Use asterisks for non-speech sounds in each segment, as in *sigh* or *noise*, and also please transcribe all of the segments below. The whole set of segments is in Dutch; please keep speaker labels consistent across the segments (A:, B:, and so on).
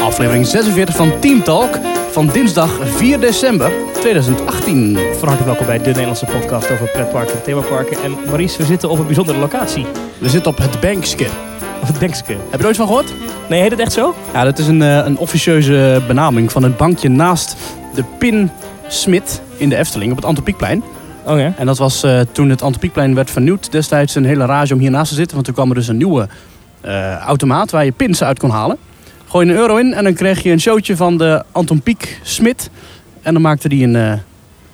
A: aflevering 46 van Team Talk van dinsdag 4 december 2018.
B: Van harte welkom bij de Nederlandse podcast over pretparken en themaparken. En Maurice, we zitten op een bijzondere locatie.
A: We zitten op het Bankske.
B: Of het Bankske.
A: Heb je er ooit van gehoord?
B: Nee, heet het echt zo?
A: Ja, dat is een, eh, een officieuze benaming van het bankje naast de Pin Smit in de Efteling op het Antropiekplein.
B: Oh ja.
A: En dat was eh, toen het Antropiekplein werd vernieuwd destijds een hele rage om hiernaast te zitten. Want toen kwam er dus een nieuwe eh, automaat waar je pins uit kon halen. Gooi een euro in en dan kreeg je een showtje van de Anton Pieck Smit. En dan maakte die een... eh,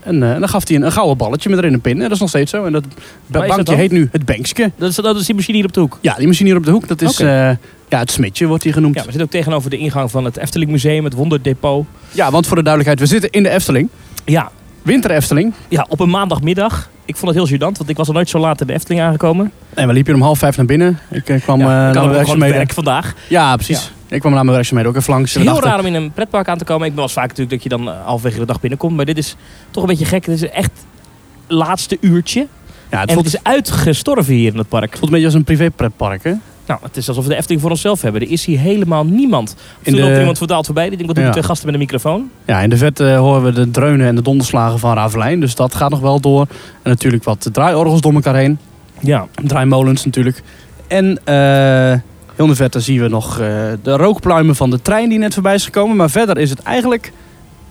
A: een, eh, en dan gaf hij een, een gouden balletje met erin een pin. En dat is nog steeds zo. En dat
B: Waar is dat
A: bankje
B: dan?
A: heet nu het Bankske.
B: Dat is, dat is die machine hier op de hoek.
A: Ja, die machine hier op de hoek, dat is...
B: Oké.
A: eh, ja, het smitje wordt hier genoemd.
B: Ja,
A: Ja.
B: we zitten ook tegenover de ingang van het Efteling Museum, het Wonderdepot.
A: want voor de duidelijkheid, we zitten in de Efteling.
B: Ja,
A: Winter Efteling.
B: ja, op een maandagmiddag. Ik vond het heel gênant, want ik was al nooit zo laat in de Efteling aangekomen.
A: En we liepen hier om half vijf naar binnen. Ik eh, kwam eh
B: ik
A: naar
B: had
A: mijn
B: ook gewoon
A: werkzaamheden.
B: werk vandaag.
A: Ja, precies. Ik kwam naar mijn werkzaamheden ook even langs.
B: Het
A: We
B: is heel
A: dachten-
B: raar om in een pretpark aan te komen. Ik ben wel eens vaak natuurlijk dat je dan eh, halverwege de dag binnenkomt. Maar dit is toch een beetje gek. Het is echt laatste uurtje.
A: Ja, het
B: en
A: voelt,
B: het is uitgestorven hier in het park.
A: het voelt een beetje als een privé-pretpark, hè?
B: Nou, het is alsof we de Efteling voor onszelf hebben. Er is hier helemaal niemand.
A: In
B: Toen loopt
A: de-
B: er iemand verdaald voorbij. Die denkt, wat doen
A: Ja.
B: die twee gasten met een microfoon?
A: Ja, in de verte horen we de dreunen en de donderslagen van Ravelijn. Dus dat gaat nog wel door. En natuurlijk wat draaiorgels door elkaar heen.
B: Ja.
A: Draaimolens natuurlijk. En eh, heel in de verte zien we nog eh, de rookpluimen van de trein die net voorbij is gekomen. Maar verder is het eigenlijk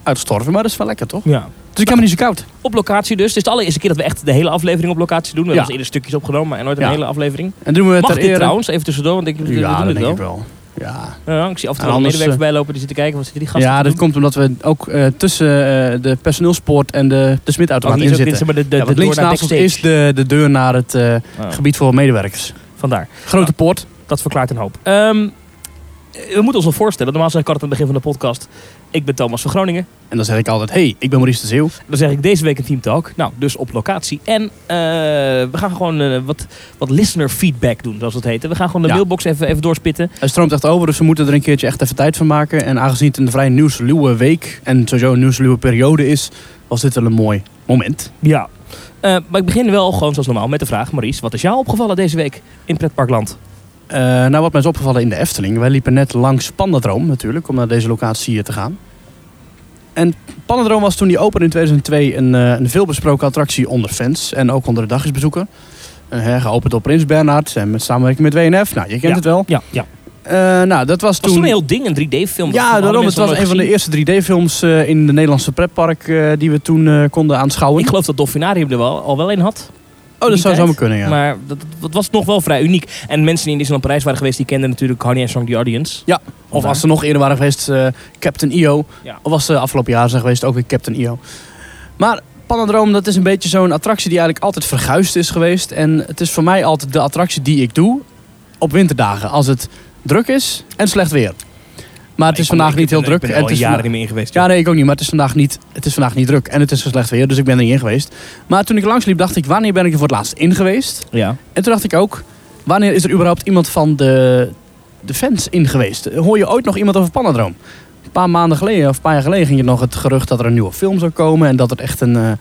A: uitgestorven. Maar dat is wel lekker, toch?
B: ja.
A: Dus ik heb me niet zo koud.
B: Op locatie dus. Het is de allereerste keer dat we echt de hele aflevering op locatie doen. We
A: Ja.
B: hebben eerder stukjes opgenomen, maar nooit een
A: Ja.
B: hele aflevering.
A: En doen we het
B: Mag
A: ter
B: dit
A: ere-
B: trouwens? Even tussendoor, want ik, we doen
A: Ja, dat
B: het
A: denk ik
B: wel.
A: wel. Ja,
B: Ja, ik zie
A: En
B: af en toe wel een
A: anders,
B: medewerker
A: eh,
B: voorbij lopen. Die zitten kijken, wat zitten die gasten
A: ja
B: te
A: dat
B: doen?
A: komt omdat we ook eh, tussen eh, de personeelspoort en de, de
B: Oh,
A: smitautomaat
B: die
A: in
B: is ook-
A: zitten.
B: dit is maar de, de,
A: Ja,
B: de
A: want
B: door
A: links
B: naar
A: naast ons is
B: backstage.
A: de, de deur naar het eh,
B: Oh,
A: gebied voor medewerkers.
B: Vandaar.
A: Grote poort.
B: Dat verklaart een hoop. Ehm, we moeten ons wel voorstellen. Normaal zeg ik altijd aan het begin van de podcast. Ik ben Thomas van Groningen.
A: En dan zeg ik altijd, hey, ik ben Maurice de Zeeuw.
B: Dan zeg ik deze week een Team Talk. Nou, dus op locatie. En eh, we gaan gewoon eh, wat, wat listener feedback doen, zoals dat heet. We gaan gewoon de
A: Ja.
B: mailbox even, even doorspitten.
A: Het stroomt echt over, dus we moeten er een keertje echt even tijd van maken. En aangezien het een vrij nieuwsluwe week en sowieso een nieuwsluwe periode is, was dit wel een mooi moment.
B: Ja. Eh, maar ik begin wel gewoon zoals normaal met de vraag, Maurice. Wat is jou opgevallen deze week in Pretparkland?
A: Eh, nou, wat mij is opgevallen in de Efteling. Wij liepen net langs Pandadroom natuurlijk, om naar deze locatie hier te gaan. En Pandadroom was toen die open in 2002 een, eh, een veelbesproken attractie onder fans en ook onder de dagjesbezoeker. Eh, hè, geopend door Prins Bernhard en met samenwerking met WNF. Nou, je kent het wel.
B: Ja, ja.
A: Eh, nou, dat was
B: Het was toen een heel ding, een 3D-film.
A: Ja, daarom. Het was een van de eerste 3D-films eh, in de Nederlandse pretpark eh, die we toen eh, konden aanschouwen.
B: Ik geloof dat Dolfinarium er wel, al wel een had.
A: oh, dat
B: die
A: zou
B: tijd.
A: zomaar kunnen, ja.
B: Maar dat, dat was nog wel vrij uniek. En mensen die in Disneyland Parijs waren geweest, die kenden natuurlijk Honey and Shrunk the Audience.
A: Ja. of als ze nog eerder waren geweest, eh, Captain IO.
B: Ja.
A: Of als ze eh, afgelopen jaar zijn geweest, ook weer Captain IO. Maar Panadroom, dat is een beetje zo'n attractie die eigenlijk altijd verguisd is geweest. En het is voor mij altijd de attractie die ik doe op winterdagen. Als het druk is en slecht weer. Maar het is
B: Ik kom-
A: vandaag
B: ik
A: niet heel
B: ben-
A: druk.
B: Ik
A: en
B: ben er al
A: het is
B: jaren
A: vanda-
B: niet meer in geweest.
A: Ja, nee, ik ook niet. Maar het is vandaag niet, het is vandaag niet druk. En het is slecht weer, dus ik ben er niet in geweest. Maar toen ik langs liep, dacht ik, wanneer ben ik er voor het laatst in geweest?
B: Ja.
A: En toen dacht ik ook, wanneer is er überhaupt iemand van de, de fans in geweest? Hoor je ooit nog iemand over Panadroom? Een paar maanden geleden, of een paar jaar geleden, ging je nog het gerucht dat er een nieuwe film zou komen. En dat het echt een... eh,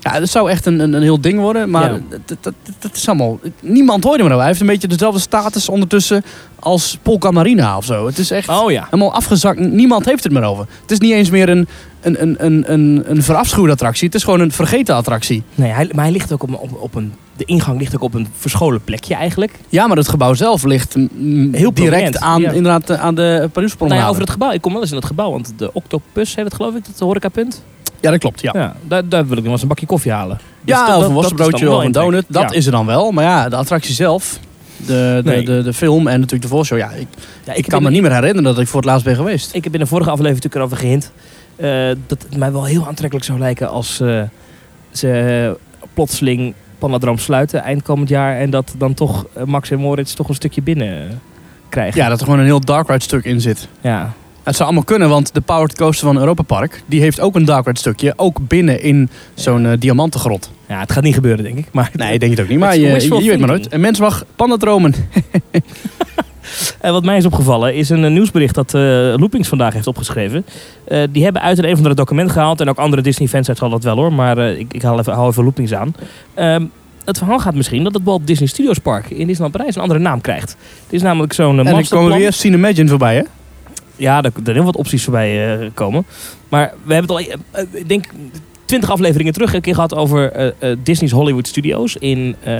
A: ja, het zou echt een, een, een heel ding worden. Maar
B: Ja.
A: dat, dat, dat- dat is allemaal... Niemand hoorde me nou. Hij heeft een beetje dezelfde status ondertussen als Polka Marina of zo. Het is echt...
B: Oh ja.
A: Helemaal afgezakt. Niemand heeft het meer over. Het is niet eens meer een, een, een, een, een, een verafschuwde attractie. Het is gewoon een vergeten attractie.
B: Nee, hij, maar hij ligt ook op, op, op een. De ingang ligt ook op een verscholen plekje eigenlijk.
A: Ja, maar het gebouw zelf ligt mm,
B: Heel prominent,
A: direct aan,
B: ja.
A: inderdaad, eh, aan de parijs
B: Nou ja, over het gebouw. Ik kom wel eens in het gebouw, want de Octopus heet het geloof ik, dat horecapunt.
A: Ja, dat klopt. Ja,
B: Ja, daar, daar wil ik nog wel eens een bakje koffie halen. Dus
A: ja
B: dat-
A: of
B: dat-
A: een
B: dat is dan
A: worstenbroodje
B: wel
A: of een
B: intrek.
A: donut. Dat
B: Ja.
A: is er dan wel. Maar ja, de attractie zelf, de, de,
B: Nee.
A: de, de film en natuurlijk de voorshow. Ja, ik,
B: Ja,
A: ik
B: heb
A: kan
B: in-
A: me niet meer herinneren dat ik voor het laatst ben geweest.
B: Ik heb in de vorige aflevering natuurlijk erover gehind. eh, dat het mij wel heel aantrekkelijk zou lijken als eh, ze eh, plotseling Panadroom sluiten eind komend jaar. En dat dan toch eh, Max en Moritz toch een stukje binnen eh, krijgen.
A: Ja, dat er gewoon een heel Dark Ride stuk in zit.
B: ja.
A: Het zou allemaal kunnen, want de Powered Coaster van Europa Park... die heeft ook een Dark Ride stukje, ook binnen in zo'n eh, diamantengrot.
B: Ja, het gaat niet gebeuren denk ik. Maar
A: Nee, ik denk het ook niet. Maar
B: Het is
A: je,
B: wishful
A: je, je weet maar
B: thinking.
A: nooit. Een mens mag pandadromen.
B: En Eh, wat mij is opgevallen is een eh, nieuwsbericht dat eh, Loopings vandaag heeft opgeschreven. Eh, die hebben uit een een of andere document gehaald. En ook andere Disney-fans uit zal dat wel hoor. Maar eh, ik, ik haal even, hou even Loopings aan. Ehm, het verhaal gaat misschien dat het Walt Disney Studios Park in Disneyland Parijs een andere naam krijgt. Het is namelijk zo'n eh,
A: En dan
B: masterplan.
A: komen we weer Scene Imagine voorbij, hè?
B: Ja, er er zijn heel wat opties voorbij eh, komen. Maar we hebben het al, eh, eh, ik denk, twintig afleveringen terug een keer gehad over eh, eh, Disney's Hollywood Studios in, eh,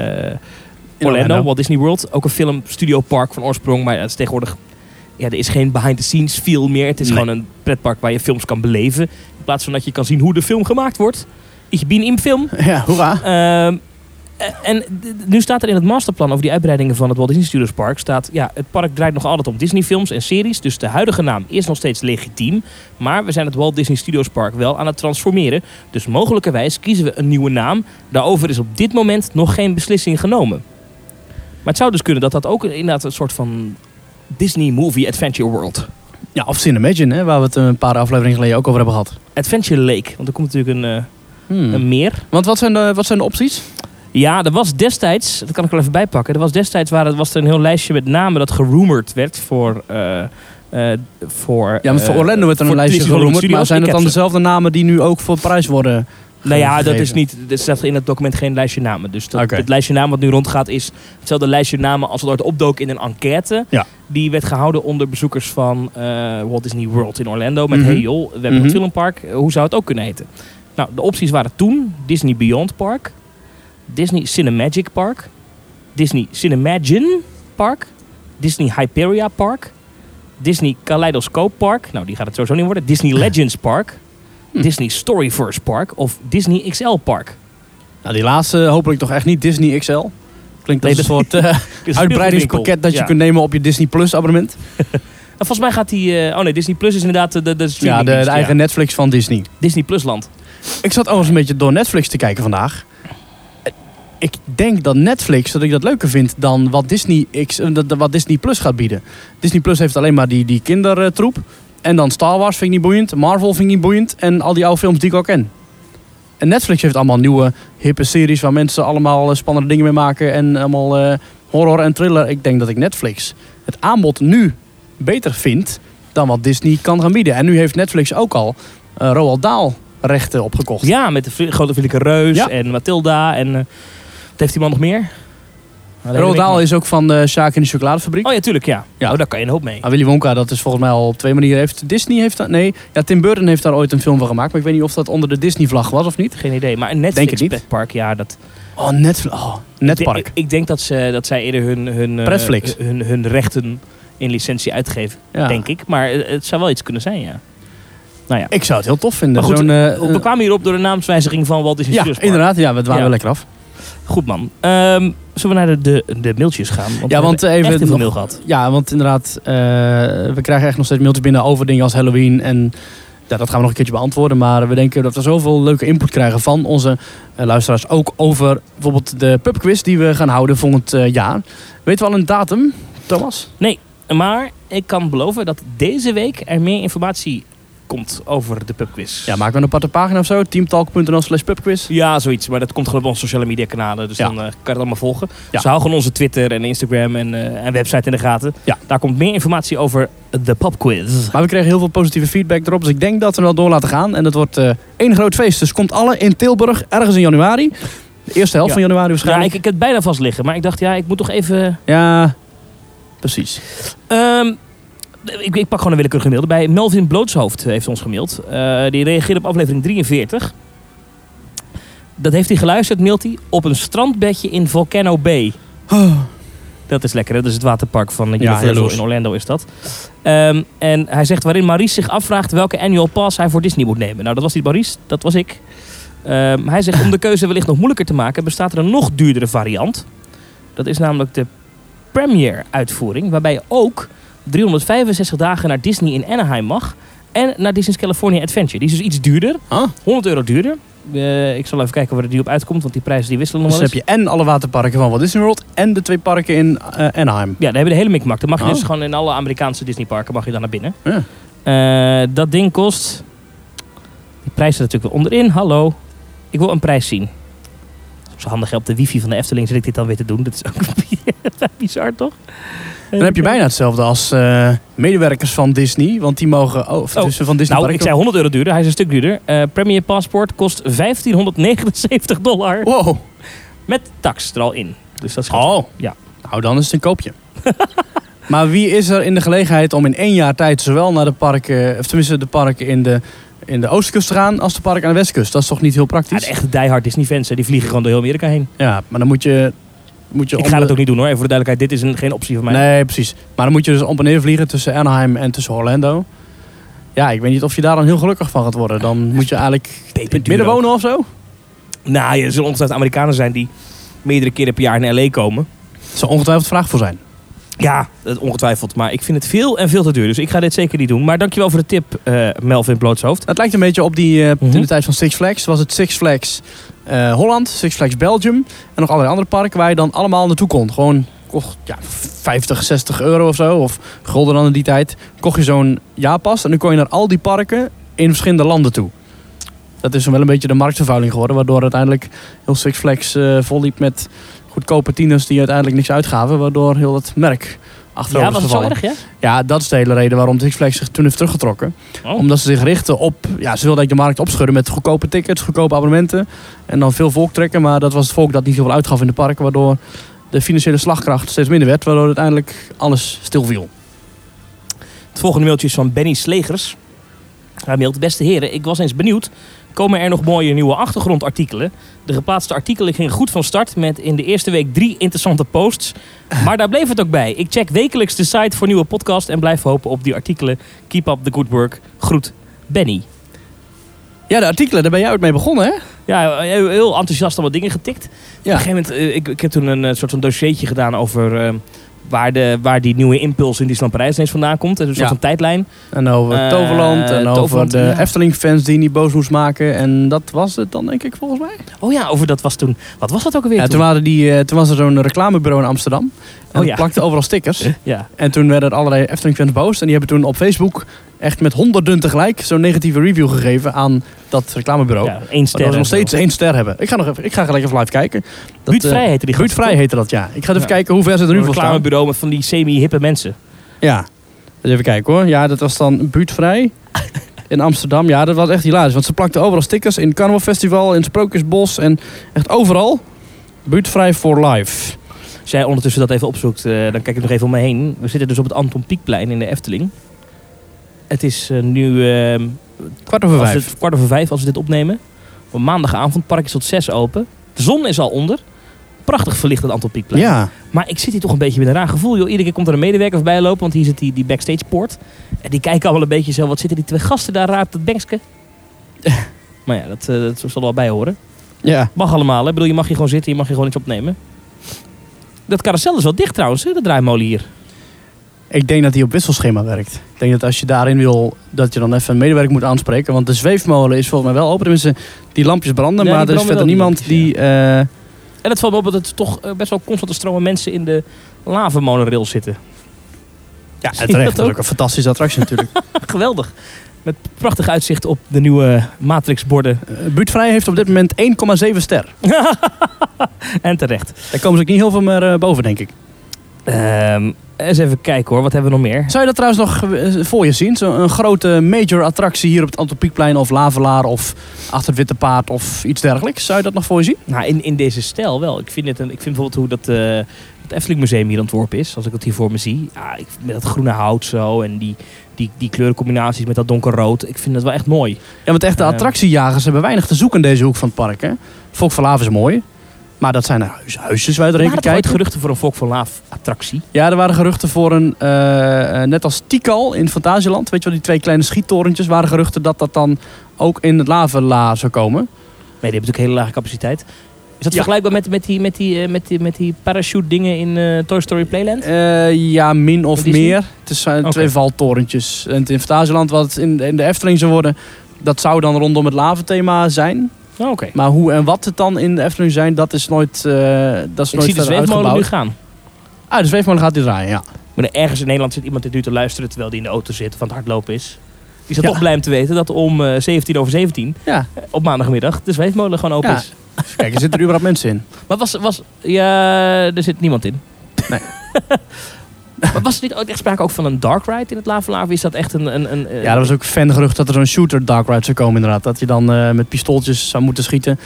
B: Orlando,
A: Orlando.
B: Walt Disney World. Ook een film studio park van oorsprong, maar het is tegenwoordig, ja, er is geen behind the scenes feel meer. Het is
A: Nee.
B: gewoon een pretpark waar je films kan beleven. In plaats van dat je kan zien hoe de film gemaakt wordt. Ich bin im film.
A: Ja, hoera.
B: Ehm, eh, en d- d- nu staat er in het masterplan over die uitbreidingen van het Walt Disney Studios Park... staat, ja, het park draait nog altijd om Disney-films en series... dus de huidige naam is nog steeds legitiem... maar we zijn het Walt Disney Studios Park wel aan het transformeren... dus mogelijkerwijs kiezen we een nieuwe naam. Daarover is op dit moment nog geen beslissing genomen. Maar het zou dus kunnen dat dat ook inderdaad een soort van... Disney Movie Adventure World.
A: Ja, of Cinemagine, hè, waar we het een paar afleveringen geleden ook over hebben gehad.
B: Adventure Lake, want er komt natuurlijk een, eh,
A: Hmm.
B: een meer...
A: Want wat zijn, de, wat zijn de opties?
B: Ja, er was destijds, dat kan ik wel even bijpakken. Er was destijds waren, was er een heel lijstje met namen dat gerumored werd voor. eh, eh, voor
A: Ja, want voor
B: eh,
A: Orlando wordt er een
B: voor
A: lijstje
B: Disney Hollywood
A: geroemd. Maar
B: Studios.
A: zijn
B: Ik
A: het dan
B: heb ze.
A: dezelfde namen die nu ook voor de prijs worden
B: Nou ja, dat
A: gegeven?
B: is niet. Er staat in het document geen lijstje namen. Dus dat,
A: Oké.
B: het lijstje namen wat nu rondgaat is hetzelfde lijstje namen als het ooit opdook in een enquête.
A: Ja.
B: Die werd gehouden onder bezoekers van eh, Walt Disney World in Orlando. Met
A: Mhm.
B: hey joh, we hebben
A: Mhm.
B: een filmpark. eh, Hoe zou het ook kunnen heten? Nou, de opties waren toen Disney Beyond Park, Disney Cinemagic Park, Disney Cinemagine Park, Disney Hyperia Park, Disney Kaleidoscope Park. Nou, die gaat het sowieso niet worden. Disney Legends Park,
A: Hm.
B: Disney Storyverse Park of Disney XL Park.
A: Nou, die laatste hopelijk toch echt niet Disney XL. Klinkt als
B: Nee,
A: een
B: dat-
A: soort eh,
B: Dus
A: uitbreidingspakket dat je
B: ja.
A: kunt nemen op je Disney Plus abonnement.
B: En volgens mij gaat die... eh, oh nee, Disney Plus is inderdaad de, de, de
A: Ja, de,
B: streamingdienst,
A: de eigen Netflix van Disney.
B: Disney Plus land.
A: Ik zat overigens een beetje door Netflix te kijken vandaag. Ik denk dat Netflix, dat ik dat leuker vind dan wat Disney, X, eh, dat- dat wat Disney Plus gaat bieden. Disney Plus heeft alleen maar die, die kindertroep. En dan Star Wars vind ik niet boeiend. Marvel vind ik niet boeiend. En al die oude films die ik al ken. En Netflix heeft allemaal nieuwe, hippe series waar mensen allemaal eh, spannende dingen mee maken. En allemaal eh, horror en thriller. Ik denk dat ik Netflix het aanbod nu beter vind dan wat Disney kan gaan bieden. En nu heeft Netflix ook al eh, Roald Dahl rechten opgekocht.
B: Ja, met de vri- grote vriendelijke reus
A: Ja.
B: en Matilda en... eh, wat heeft die man nog meer? Alleen
A: Roald
B: weet ik
A: Dahl
B: niet.
A: is ook van de Sjaak in de chocoladefabriek.
B: Oh ja, tuurlijk, ja.
A: Ja.
B: Oh, daar kan je een hoop mee.
A: Ah, Willy Wonka, dat is volgens mij al op twee manieren. Heeft Disney heeft dat? Nee, ja, Tim Burton heeft daar ooit een film van gemaakt. Maar ik weet niet of dat onder de Disney-vlag was of niet.
B: Geen idee. Maar een
A: Denk het
B: Netflix
A: niet.
B: pretpark, ja, dat...
A: Oh, net, oh,
B: Ik,
A: Netpark.
B: denk- ik denk dat, ze, dat zij eerder hun... hun eh,
A: Pretflix.
B: Hun, hun, rechten in licentie uitgeven,
A: Ja.
B: denk ik. Maar eh, het zou wel iets kunnen zijn, ja. Nou ja.
A: Ik zou het heel tof vinden.
B: Maar goed,
A: Zo'n, eh,
B: We kwamen hierop door de naamswijziging van Walt Disney
A: ja,
B: Studios Park.
A: inderdaad. Ja, we dwalen
B: Ja.
A: wel lekker af.
B: Goed man. Ehm, zullen we naar de, de, de mailtjes gaan? Want
A: Ja,
B: we
A: want eh,
B: hebben
A: even
B: echt heel veel
A: nog-
B: mail gehad.
A: Ja, want inderdaad, eh, we krijgen echt nog steeds mailtjes binnen over dingen als Halloween. En ja, dat gaan we nog een keertje beantwoorden. Maar we denken dat we zoveel leuke input krijgen van onze eh, luisteraars. Ook over bijvoorbeeld de pubquiz die we gaan houden volgend eh, jaar. Weten we al een datum, Thomas?
B: Maar ik kan beloven dat deze week er meer informatie komt over de pubquiz.
A: Ja, maken we een aparte pagina of zo? Teamtalk.nl slash pubquiz.
B: Ja, zoiets. Maar dat komt gewoon op onze sociale media kanalen. Dus
A: Ja.
B: dan eh, kan je het allemaal volgen.
A: Ja.
B: Dus hou gewoon onze Twitter en Instagram en, eh, en website in de gaten.
A: Ja.
B: Daar komt meer informatie over de pubquiz.
A: Maar we kregen heel veel positieve feedback erop. Dus ik denk dat we wel door laten gaan. En dat wordt eh, één groot feest. Dus komt alle in Tilburg ergens in januari. De eerste helft
B: Ja.
A: van januari
B: Ja, ik,
A: waarschijnlijk.
B: ik heb het bijna vast liggen. Maar ik dacht, ja, ik moet toch even...
A: ja precies.
B: Ehm, ik, ik pak gewoon een willekeurige mail erbij. Melvin Blootshoofd heeft ons gemaild. Eh, die reageerde op aflevering 43. Dat heeft hij geluisterd, mailt hij, op een strandbedje in Volcano Bay. Dat is lekker, hè? dat is het waterpark van Universal
A: jaloers.
B: in Orlando is dat. Ehm, en hij zegt waarin Maurice zich afvraagt welke annual pass hij voor Disney moet nemen. Nou, dat was niet Maurice, dat was ik. Ehm, hij zegt om de keuze wellicht nog moeilijker te maken bestaat er een nog duurdere variant. Dat is namelijk de Premier uitvoering, waarbij je ook 365 dagen naar Disney in Anaheim mag. En naar Disney's California Adventure. Die is dus iets duurder,
A: Ah.
B: 100 euro duurder. Eh, ik zal even kijken waar die op uitkomt, want die prijzen die wisselen nog
A: Dus
B: wel
A: dan
B: eens.
A: heb je en alle waterparken van Walt Disney World en de twee parken in eh, Anaheim.
B: Ja, daar hebben we de hele mikmak. Dan mag je
A: Oh.
B: dus gewoon in alle Amerikaanse Disneyparken mag je dan naar binnen.
A: Ja.
B: Eh, dat ding kost... Die prijs staat natuurlijk weer onderin. Hallo. Ik wil een prijs zien. Soms handig hè, op de wifi van de Efteling zit ik dit dan weer te doen. Dat is ook *laughs* bizar, toch?
A: Dan heb je bijna hetzelfde als eh, medewerkers van Disney, want die mogen oh, of
B: Oh.
A: tussen van Disney
B: Nou, ik
A: parken-
B: zei 100 euro duurder. Hij is een stuk duurder. Eh Premier Passport kost 1579 dollar.
A: Wow.
B: Met tax er al in. Dus dat is goed.
A: Oh.
B: Ja. *laughs*
A: Nou, dan is het een koopje. Maar wie is er in de gelegenheid om in één jaar tijd zowel naar de parken, of tenminste de parken in de, in de oostkust te gaan, als de parken aan de westkust? Dat is toch niet heel
B: Ja,
A: praktisch?
B: de echte diehard Disney-fans, hè, die vliegen gewoon door heel Amerika heen.
A: Ja, maar dan moet je. Moet je
B: Ik
A: om
B: ga
A: de-
B: dat ook niet doen hoor, even voor de duidelijkheid. Dit is een, geen optie voor mij.
A: Nee, precies. Maar dan moet je dus op en neer vliegen tussen Anaheim en tussen Orlando. Ja, ik weet niet of je daar dan heel gelukkig van gaat worden. Dan moet je eigenlijk in het
B: Peperduur
A: midden
B: ook.
A: wonen of zo.
B: Nou, ja, er zullen ongetwijfeld Amerikanen zijn die meerdere keren per jaar naar L.A. komen.
A: Dat zou ongetwijfeld vraag voor zijn.
B: Ja, dat ongetwijfeld. Maar ik vind het veel en veel te duur. Dus ik ga dit zeker niet doen. Maar dankjewel voor de tip, eh, Melvin Blootshoofd.
A: Het lijkt een beetje op die, eh,
B: Mhm.
A: in de tijd van Six Flags, was het Six Flags eh, Holland, Six Flags Belgium en nog allerlei andere parken waar je dan allemaal naartoe kon. Gewoon kocht ja, 50, 60 euro of zo, of gulden dan in die tijd. Kocht je zo'n jaarpas en dan kon je naar al die parken in verschillende landen toe. Dat is wel een beetje de marktvervuiling geworden, waardoor uiteindelijk heel Six Flags eh volliep met goedkope tieners die uiteindelijk niks uitgaven, waardoor heel dat merk achterover is gevallen.
B: ja?
A: Ja, dat is de hele reden waarom Six Flags zich toen heeft teruggetrokken.
B: Oh.
A: Omdat ze zich richten op... Ja, ze wilden eigenlijk de markt opschudden met goedkope tickets, goedkope abonnementen. En dan veel volk trekken. Maar dat was het volk dat niet zoveel uitgaf in de parken. Waardoor de financiële slagkracht steeds minder werd. Waardoor uiteindelijk alles stilviel.
B: Het volgende mailtje is van Benny Slegers. Hij mailt, beste heren, ik was eens benieuwd. Komen er nog mooie nieuwe achtergrondartikelen? De geplaatste artikelen gingen goed van start met in de eerste week drie interessante posts. Maar daar bleef het ook bij. Ik check wekelijks de site voor nieuwe podcast en blijf hopen op die artikelen. Keep up the good work. Groet, Benny.
A: Ja, de artikelen, daar ben jij ook mee begonnen, hè?
B: Ja, heel heel enthousiast allemaal dingen getikt.
A: Ja.
B: Op een gegeven moment, eh, ik, ik heb toen een eh, soort van dossiertje gedaan over eh, waar, de, waar die nieuwe impuls in Disneyland Parijs ineens vandaan komt. Een soort
A: Ja.
B: van tijdlijn.
A: En over
B: Eh,
A: Toverland. En
B: Toverland,
A: over de
B: ja.
A: Efteling-fans die niet boos moest maken. En dat was het dan, denk ik, volgens mij.
B: Oh ja, over dat was toen. Wat was dat ook alweer?
A: Ja, toen, waren die, eh, toen was er zo'n reclamebureau in Amsterdam. En
B: Oh,
A: die
B: ja.
A: plakte overal
B: *laughs*
A: stickers.
B: Ja.
A: En toen werden er allerlei Efteling-fans boos. En die hebben toen op Facebook echt met honderden tegelijk zo'n negatieve review gegeven aan dat reclamebureau.
B: ja, één
A: Dat
B: ster.
A: we nog steeds één ster hebben. Ik ga, nog even, ik ga gelijk even live kijken. Dat, eh,
B: Ruud Vrij heette die
A: Ruud Vrij heette dat, ja. Ik ga even
B: Ja.
A: kijken hoe ver ze er
B: Een
A: nu voor staan.
B: reclamebureau met van die semi-hippe mensen.
A: Ja. Dus even kijken hoor. Ja, dat was dan Ruud Vrij in Amsterdam. Ja, dat was echt hilarisch. Want ze plakten overal stickers in het Carnaval Festival, in het Sprookjesbos en echt overal. Ruud Vrij for life.
B: Als jij ondertussen dat even opzoekt, eh, dan kijk ik nog even om me heen. We zitten dus op het Anton Pieckplein in de Efteling. Het is eh, nu eh,
A: Kwart over
B: Als
A: vijf.
B: dit, kwart over vijf als we dit opnemen. Op maandagavond, park is tot zes open. De zon is al onder. Prachtig verlicht het Anton Pieckplein.
A: Ja.
B: Maar ik zit hier toch een beetje met een raar gevoel. Joh. Iedere keer komt er een medewerker voorbij lopen, want hier zit die, die backstage poort. En die kijken allemaal een beetje zo, wat zitten die twee gasten daar raar op dat bankske? *laughs* maar ja, dat, eh, dat zal er wel bij horen.
A: Ja.
B: Mag allemaal, hè? Ik bedoel, je mag hier gewoon zitten, je mag hier gewoon iets opnemen. Dat carousel is wel dicht trouwens, hè? de draaimolen hier.
A: Ik denk dat hij op wisselschema werkt. Ik denk dat als je daarin wil, dat je dan even een medewerker moet aanspreken. Want de zweefmolen is volgens mij wel open. Tenminste, die lampjes branden,
B: Ja, die
A: maar er is
B: branden
A: verder
B: wel, die
A: niemand
B: lampjes,
A: die... eh,
B: En het valt me op dat er toch eh, best wel constante stromen mensen in de lavamonorail zitten.
A: ja,
B: Zie je
A: terecht. *laughs*
B: dat
A: Dat is
B: ook?
A: ook een fantastische attractie *laughs* natuurlijk. Eh,
B: *laughs* Geweldig. Met prachtig uitzicht op de nieuwe Matrix-borden. *laughs*
A: Eh, Buurtvrij heeft op dit moment 1,7 ster.
B: en terecht.
A: Daar komen ze ook niet heel veel meer eh, boven, denk ik.
B: Ehm, eens even kijken hoor, wat hebben we nog meer?
A: Zou je dat trouwens nog eh, voor je zien? Zo'n een grote major attractie hier op het Anton Pieckplein of Lavelaar of achter het Witte Paard of iets dergelijks. Zou je dat nog voor je zien?
B: Nou, in, in deze stijl wel. Ik vind, het een, ik vind bijvoorbeeld hoe dat, eh, het Efteling Museum hier ontworpen is, als ik het hier voor me zie. Ja, ik, met dat groene hout zo en die, die, die kleurencombinaties met dat donkerrood. Ik vind dat wel echt mooi.
A: Ja, want echte
B: Ja.
A: attractiejagers hebben weinig te zoeken in deze hoek van het park. Hè? Volk van Laaf is mooi. Maar dat zijn huis- huisjes waar je
B: Er
A: doorheen
B: waren
A: kan
B: toch ooit
A: kijken.
B: geruchten voor een Volk van Laaf attractie.
A: Ja, er waren geruchten voor een, eh, eh, net als Tikal in Fantasieland, weet je wel, die twee kleine schiettorentjes, waren geruchten dat dat dan ook in het Lavela zou komen.
B: Nee, die hebben natuurlijk hele lage capaciteit. Is dat
A: Ja.
B: vergelijkbaar met, met, die, met, die, eh, met, die, met die parachute dingen in eh, Toy Story Playland?
A: Eh, ja, min of
B: Wat is die?
A: meer. Het zijn
B: Oké.
A: twee valtorentjes. En het in Fantasieland, wat het in, in de Efteling zou worden, dat zou dan rondom het laventhema zijn.
B: Oh, Oké.
A: Maar hoe en wat het dan in de Efteling zijn, dat is nooit, eh, dat is
B: Ik
A: nooit
B: zie de
A: verder
B: zweefmolen nu
A: uitgebouwd.
B: gaan.
A: Ah, de zweefmolen gaat hij draaien, ja.
B: Maar ergens in Nederland zit iemand dit nu te luisteren terwijl die in de auto zit of aan het hardlopen is. Die is
A: Ja.
B: toch blij om te weten dat om eh, 17 over 17
A: Ja.
B: eh, op maandagmiddag de zweefmolen gewoon open
A: Ja.
B: is.
A: Kijk, er zitten er überhaupt mensen in.
B: Maar was, was, ja, er zit niemand in.
A: Nee.
B: *laughs* maar was er niet ooit echt sprake ook van een dark ride in het Lavelaar? Of is dat echt een... een, een eh,
A: Ja, er was ook fangerucht dat er zo'n shooter dark ride zou komen inderdaad. Dat je dan eh, met pistooltjes zou moeten schieten.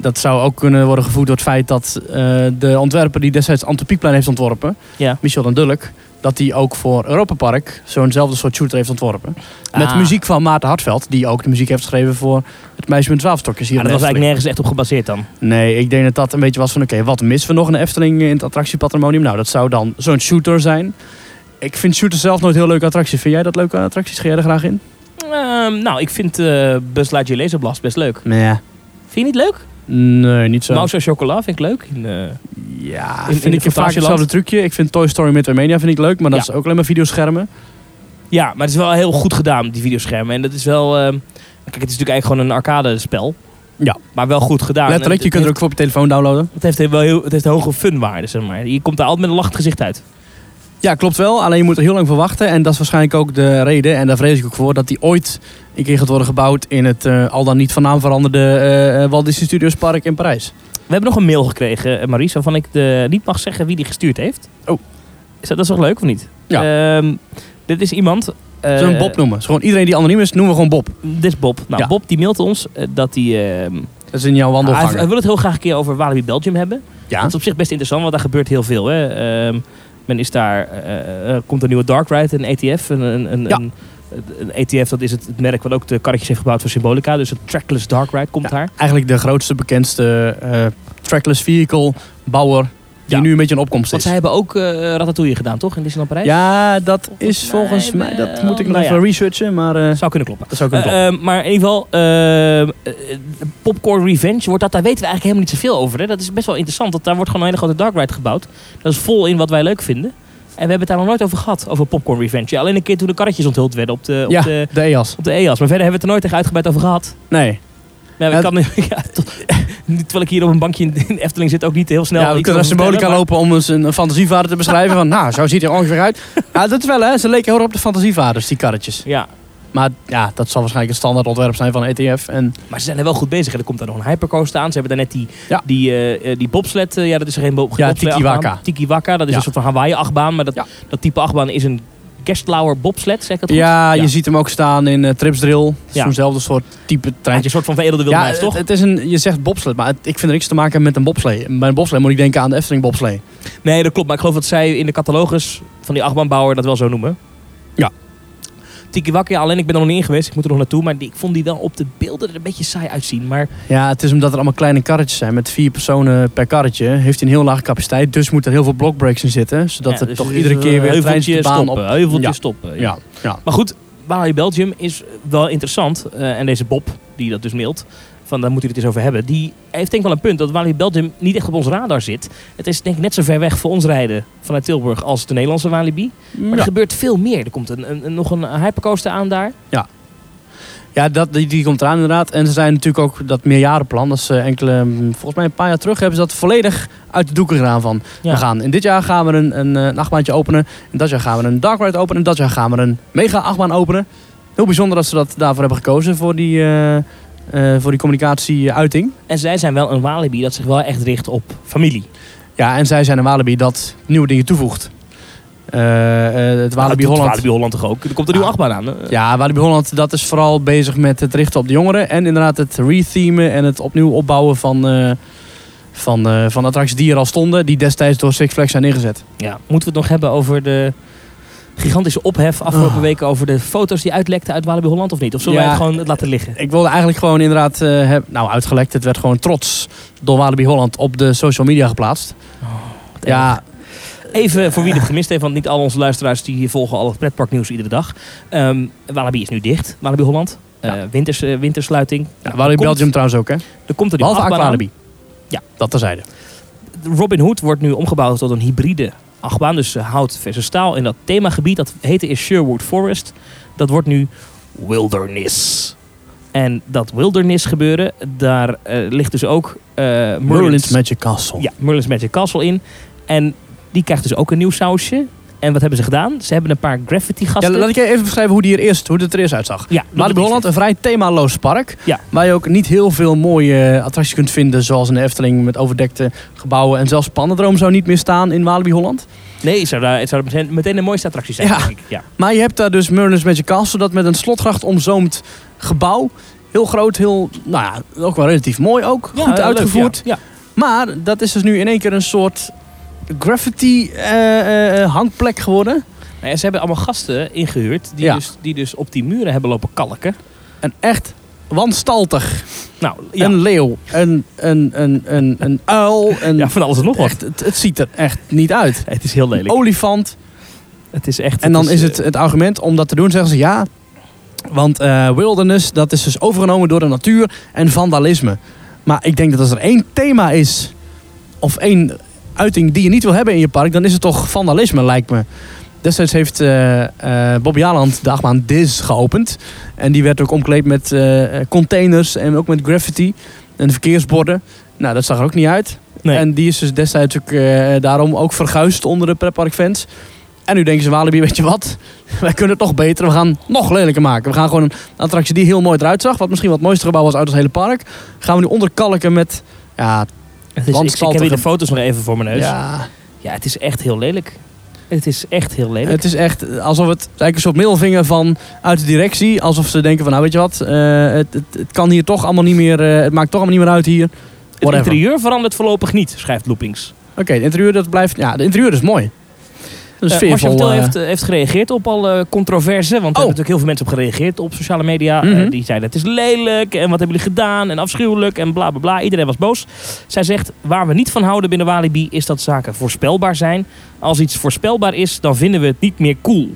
A: Dat zou ook kunnen worden gevoed door het feit dat eh, de ontwerper die destijds Anton Pieckplein heeft ontworpen,
B: Ja.
A: Michel den Dulk, dat hij ook voor Europa Park zo'nzelfde soort shooter heeft ontworpen. Met
B: Ah.
A: muziek van Maarten Hartveld, die ook de muziek heeft geschreven voor het meisje met dwaalstokjes hier
B: Maar Ah, dat
A: in de
B: was
A: Efteling.
B: eigenlijk nergens echt op gebaseerd dan.
A: Nee, ik denk dat dat een beetje was van oké, wat missen we nog in de Efteling in het attractiepatrimonium? Nou, dat zou dan zo'n shooter zijn. Ik vind shooters zelf nooit heel leuke attracties. Vind jij dat leuke attracties? Ga jij er graag in?
B: Ehm, nou, ik vind eh Buzz Lightyear Laser Blast best leuk.
A: Nee.
B: Vind je niet leuk?
A: Nee, niet zo.
B: Mouse en Chocola vind ik leuk. In, eh,
A: Ja,
B: in
A: vind ik
B: het
A: vaak hetzelfde trucje. Ik vind Toy Story Midway Mania vind ik leuk, maar dat
B: Ja.
A: is ook alleen maar videoschermen.
B: Ja, maar het is wel heel goed gedaan, die videoschermen. En dat is wel... ehm, kijk, het is natuurlijk eigenlijk gewoon een arcade spel.
A: Ja.
B: Maar wel goed gedaan. En
A: Letterlijk,
B: het-
A: je kunt er ook voor op je telefoon downloaden.
B: Het heeft wel heel, het heeft een hoge funwaarde, zeg maar. Je komt daar altijd met een lachend gezicht uit.
A: Ja, klopt wel. Alleen je moet er heel lang voor wachten. En dat is waarschijnlijk ook de reden, en daar vrees ik ook voor, dat die ooit een keer gaat worden gebouwd in het eh, al dan niet van naam veranderde eh, eh, Walt Disney Studios Park in Parijs.
B: We hebben nog een mail gekregen, eh, Maries, waarvan ik de, niet mag zeggen wie die gestuurd heeft.
A: Oh.
B: Is dat, dat is toch leuk of niet?
A: Ja.
B: Ehm, dit is iemand... eh,
A: Zullen we hem Bob noemen? Dus gewoon iedereen die anoniem is, noemen we gewoon Bob.
B: Dit is Bob. Nou,
A: Ja.
B: Bob die mailt ons eh, dat hij... ehm,
A: Dat is in jouw
B: hij,
A: wandelgang.
B: hij wil het heel graag een keer over Walibi Belgium hebben.
A: ja.
B: Dat is op zich best interessant, want daar gebeurt heel veel. Hè. Ehm, men is daar... eh, eh, komt een nieuwe Dark Ride, een ETF. Een, een, een,
A: Ja.
B: een, een ETF, dat is het, het merk wat ook de karretjes heeft gebouwd voor Symbolica. Dus een trackless Dark Ride komt
A: Ja.
B: daar.
A: Eigenlijk de grootste, bekendste eh, trackless vehicle bouwer die
B: Ja.
A: nu een beetje in opkomst
B: Want
A: is.
B: zij hebben ook eh Ratatouille gedaan, toch? In Disneyland Parijs?
A: Ja, dat is
B: mij
A: volgens mij,
B: wel.
A: dat moet ik nog
B: Nou ja.
A: even researchen, maar eh,
B: Zou kunnen kloppen.
A: dat zou kunnen.
B: Eh, eh, maar in ieder geval, eh, eh, Popcorn Revenge, wordt dat, daar weten we eigenlijk helemaal niet zoveel over. Hè? Dat is best wel interessant, want daar wordt gewoon een hele grote dark ride gebouwd. Dat is vol in wat wij leuk vinden. En we hebben het daar nog nooit over gehad, over Popcorn Revenge. Ja, alleen een keer toen de karretjes onthuld werden op de, op
A: ja,
B: de,
A: de EAS.
B: op de EAS. Maar verder hebben we het er nooit echt uitgebreid over gehad.
A: Nee.
B: Nou,
A: Ja,
B: ik kan, nu- *laughs* ja, tot- nu, terwijl ik hier op een bankje in, in Efteling zit, ook niet heel snel.
A: ja, we
B: iets
A: kunnen naar
B: over
A: symbolica
B: vertellen, maar-
A: lopen om eens een fantasievader te beschrijven. van, nou, zo ziet hij er ongeveer *laughs* uit. Ja, dat wel, hè. Ze leken heel erg op de fantasievaders, die karretjes.
B: Ja,
A: Maar ja, dat zal waarschijnlijk het standaard ontwerp zijn van ETF. En
B: Maar ze zijn er wel goed bezig. En er komt daar nog een hypercoaster aan. Ze hebben daar net die,
A: Ja.
B: die, eh, eh, die bobsled. eh, ja, dat is er geen, bo- geen
A: Ja,
B: bobsled
A: Tiki
B: achtbaan.
A: Waka.
B: Tiki Waka, dat is
A: Ja.
B: een soort van Hawaii-achtbaan. Maar dat,
A: Ja.
B: dat type achtbaan is een Gerstlauer bobsled, zeg ik dat goed?
A: ja, je
B: Ja.
A: ziet hem ook staan in eh, Trips Drill.
B: Ja.
A: Zo'nzelfde soort type
B: Een
A: treintje.
B: soort van veredelde
A: Ja, eh,
B: wildmeis, toch?
A: het, het is een, je zegt bobsled, maar het- ik vind er niks te maken met een bobslee. Bij een bobslee moet ik denken aan de Efteling bobslee.
B: Nee, dat klopt. Maar ik geloof dat zij in de catalogus van die achtbaanbouwer dat wel zo noemen.
A: Ja.
B: Tiki Waka, ja, alleen ik ben er nog niet in geweest. Ik moet er nog naartoe. Maar die, ik vond die wel op de beelden er een beetje saai uitzien. Maar
A: Ja, het is omdat er allemaal kleine karretjes zijn. Met vier personen per karretje heeft hij een heel lage capaciteit. Dus moet er heel veel blockbreaks in zitten. Zodat
B: ja,
A: er
B: dus
A: toch
B: het is
A: iedere
B: een
A: keer weer een treintje
B: heuveltje
A: de baan
B: stoppen.
A: op...
B: Heuveltje
A: Ja.
B: stoppen.
A: Ja, ja.
B: Maar goed, Walibi Belgium is wel interessant. eh, en deze Bob, die dat dus mailt, van daar moet hij het eens over hebben. Die heeft denk ik wel een punt dat Walibi Belgium niet echt op ons radar zit. Het is denk ik net zo ver weg voor ons rijden vanuit Tilburg als de Nederlandse Walibi. Maar
A: Ja.
B: er gebeurt veel meer. Er komt een, een, een- nog een hypercoaster aan daar.
A: Ja, dat, die, die komt eraan inderdaad. En ze zijn natuurlijk ook dat meerjarenplan. Dat ze enkele, mm, volgens mij een paar jaar terug hebben ze dat volledig uit de doeken gedaan van.
B: Ja.
A: We gaan in dit jaar gaan we een, een, eh, een achtbaantje openen. In dat jaar gaan we een dark ride openen. In dat jaar gaan we een mega achtbaan openen. Heel bijzonder dat ze dat daarvoor hebben gekozen voor die, eh, eh, voor die communicatieuiting.
B: En zij zijn wel een Walibi dat zich wel echt richt op familie.
A: Ja, en zij zijn een Walibi dat nieuwe dingen toevoegt. Eh, eh, het
B: Nou, dat
A: Walibi
B: doet
A: Holland.
B: Walibi Holland toch ook? Er komt een nieuwe
A: Ja.
B: achtbaan aan. eh.
A: Ja, Walibi Holland dat is vooral bezig met het richten op de jongeren. En inderdaad het rethemen en het opnieuw opbouwen van, eh, van, eh, van attracties die er al stonden. Die destijds door Six Flags zijn ingezet.
B: Ja, moeten we het nog hebben over de gigantische ophef afgelopen
A: Oh.
B: weken over de foto's die uitlekten uit Walibi Holland of niet? Of zullen
A: Ja.
B: wij het gewoon het laten liggen?
A: Ik wilde eigenlijk gewoon inderdaad... eh, heb, nou, uitgelekt. Het werd gewoon trots door Walibi Holland op de social media geplaatst.
B: Oh,
A: ja,
B: Even voor wie het gemist heeft, want niet al onze luisteraars die volgen al het pretparknieuws iedere dag. Ehm Walibi is nu dicht, Walibi Holland.
A: Ja.
B: Eh, winters, eh, wintersluiting.
A: ja,
B: Nou,
A: Walibi
B: er komt-
A: Belgium trouwens ook, hè?
B: Er komt er die
A: Behalve
B: achtbaan aan.
A: Aqualibi.
B: Ja.
A: Dat terzijde.
B: Robin Hood wordt nu omgebouwd tot een hybride achtbaan. Dus eh, hout versus staal. En dat themagebied, dat heette is Sherwood Forest. Dat wordt nu Wilderness. En dat Wilderness gebeuren, daar eh, ligt dus ook eh Merlin's,
A: Merlin's Magic Castle.
B: ja, Merlin's Magic Castle in. En die krijgt dus ook een nieuw sausje. En wat hebben ze gedaan? Ze hebben een paar graffiti
A: Ja,
B: gasten.
A: laat ik je even beschrijven hoe, die er eerst, hoe het er eerst uitzag.
B: Ja,
A: Maar
B: dat is
A: Holland,
B: het.
A: een vrij themaloos park.
B: Ja.
A: Waar je ook niet heel veel mooie eh, attracties kunt vinden. Zoals een Efteling met overdekte gebouwen. En zelfs Pannendroom zou niet meer staan in Walibi Holland.
B: Nee, het zou, daar- het zou meteen meteen de mooiste attractie zijn,
A: Ja.
B: denk ik. Ja.
A: Maar je hebt daar dus Merlin's Magic Castle. Dat met een slotgracht omzoomd gebouw. Heel groot, heel, nou ja, ook wel relatief mooi ook.
B: Ja,
A: goed
B: eh, leuk,
A: uitgevoerd.
B: ja. Ja.
A: Maar dat is dus nu in één keer een soort graffiti eh, eh, hangplek geworden.
B: Nou ja, ze hebben allemaal gasten ingehuurd die,
A: Ja.
B: dus, die dus op die muren hebben lopen kalken.
A: En echt wanstaltig.
B: Nou, ja,
A: Een leeuw, een, een, een, een, een uil. Een,
B: ja, van alles en nog wat.
A: echt, het, het ziet er echt niet uit.
B: Het is heel lelijk.
A: Olifant.
B: het is echt,
A: En dan is
B: eh,
A: het, het argument om dat te doen, zeggen ze ja. Want eh, wilderness, dat is dus overgenomen door de natuur en vandalisme. Maar ik denk dat als er één thema is, of één uiting die je niet wil hebben in je park, dan is het toch vandalisme, lijkt me. Destijds heeft eh eh, Bobby Aland de achtbaan Diz geopend. En die werd ook omkleed met eh, containers en ook met graffiti en verkeersborden. Nou, dat zag er ook niet uit.
B: nee.
A: En die is dus destijds ook eh, daarom ook verguisd onder de pretparkfans. En nu denken ze, Walibi, weet je wat? *laughs* Wij kunnen het nog beter. We gaan nog lelijker maken. We gaan gewoon een attractie die heel mooi eruit zag. Wat misschien wel het mooiste gebouw was uit het hele park. Gaan we nu onderkalken met... Ja,
B: het is, ik, ik heb
A: landstaltige-
B: hier de foto's nog even voor mijn neus. Ja.
A: ja
B: het is echt heel lelijk. Het is echt heel lelijk.
A: het is echt alsof het eigenlijk een soort middelvinger van uit de directie. Alsof ze denken van, nou weet je wat? eh, het, het, het kan hier toch allemaal niet meer... eh, het maakt toch allemaal niet meer uit hier.
B: het
A: Whatever.
B: interieur verandert voorloorig niet, schrijft Loopings.
A: Oké, het interieur dat blijft... Ja, het interieur is mooi. Dus
B: Eh,
A: sfeervol.
B: Marcia Vertel
A: eh,
B: heeft, eh, heeft gereageerd op al eh, controverse. Want er
A: Oh.
B: hebben natuurlijk heel veel mensen op gereageerd op sociale media. Eh,
A: Mhm.
B: die zeiden het is lelijk en wat hebben jullie gedaan en afschuwelijk en bla bla bla. Iedereen was boos. Zij zegt waar we niet van houden binnen Walibi is dat zaken voorspelbaar zijn. Als iets voorspelbaar is dan vinden we het niet meer cool.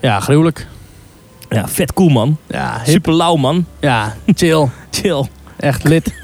A: Ja, gruwelijk.
B: Ja, vet cool man.
A: Ja, hip.
B: Super lauw man.
A: Ja, chill.
B: Chill.
A: Echt lid.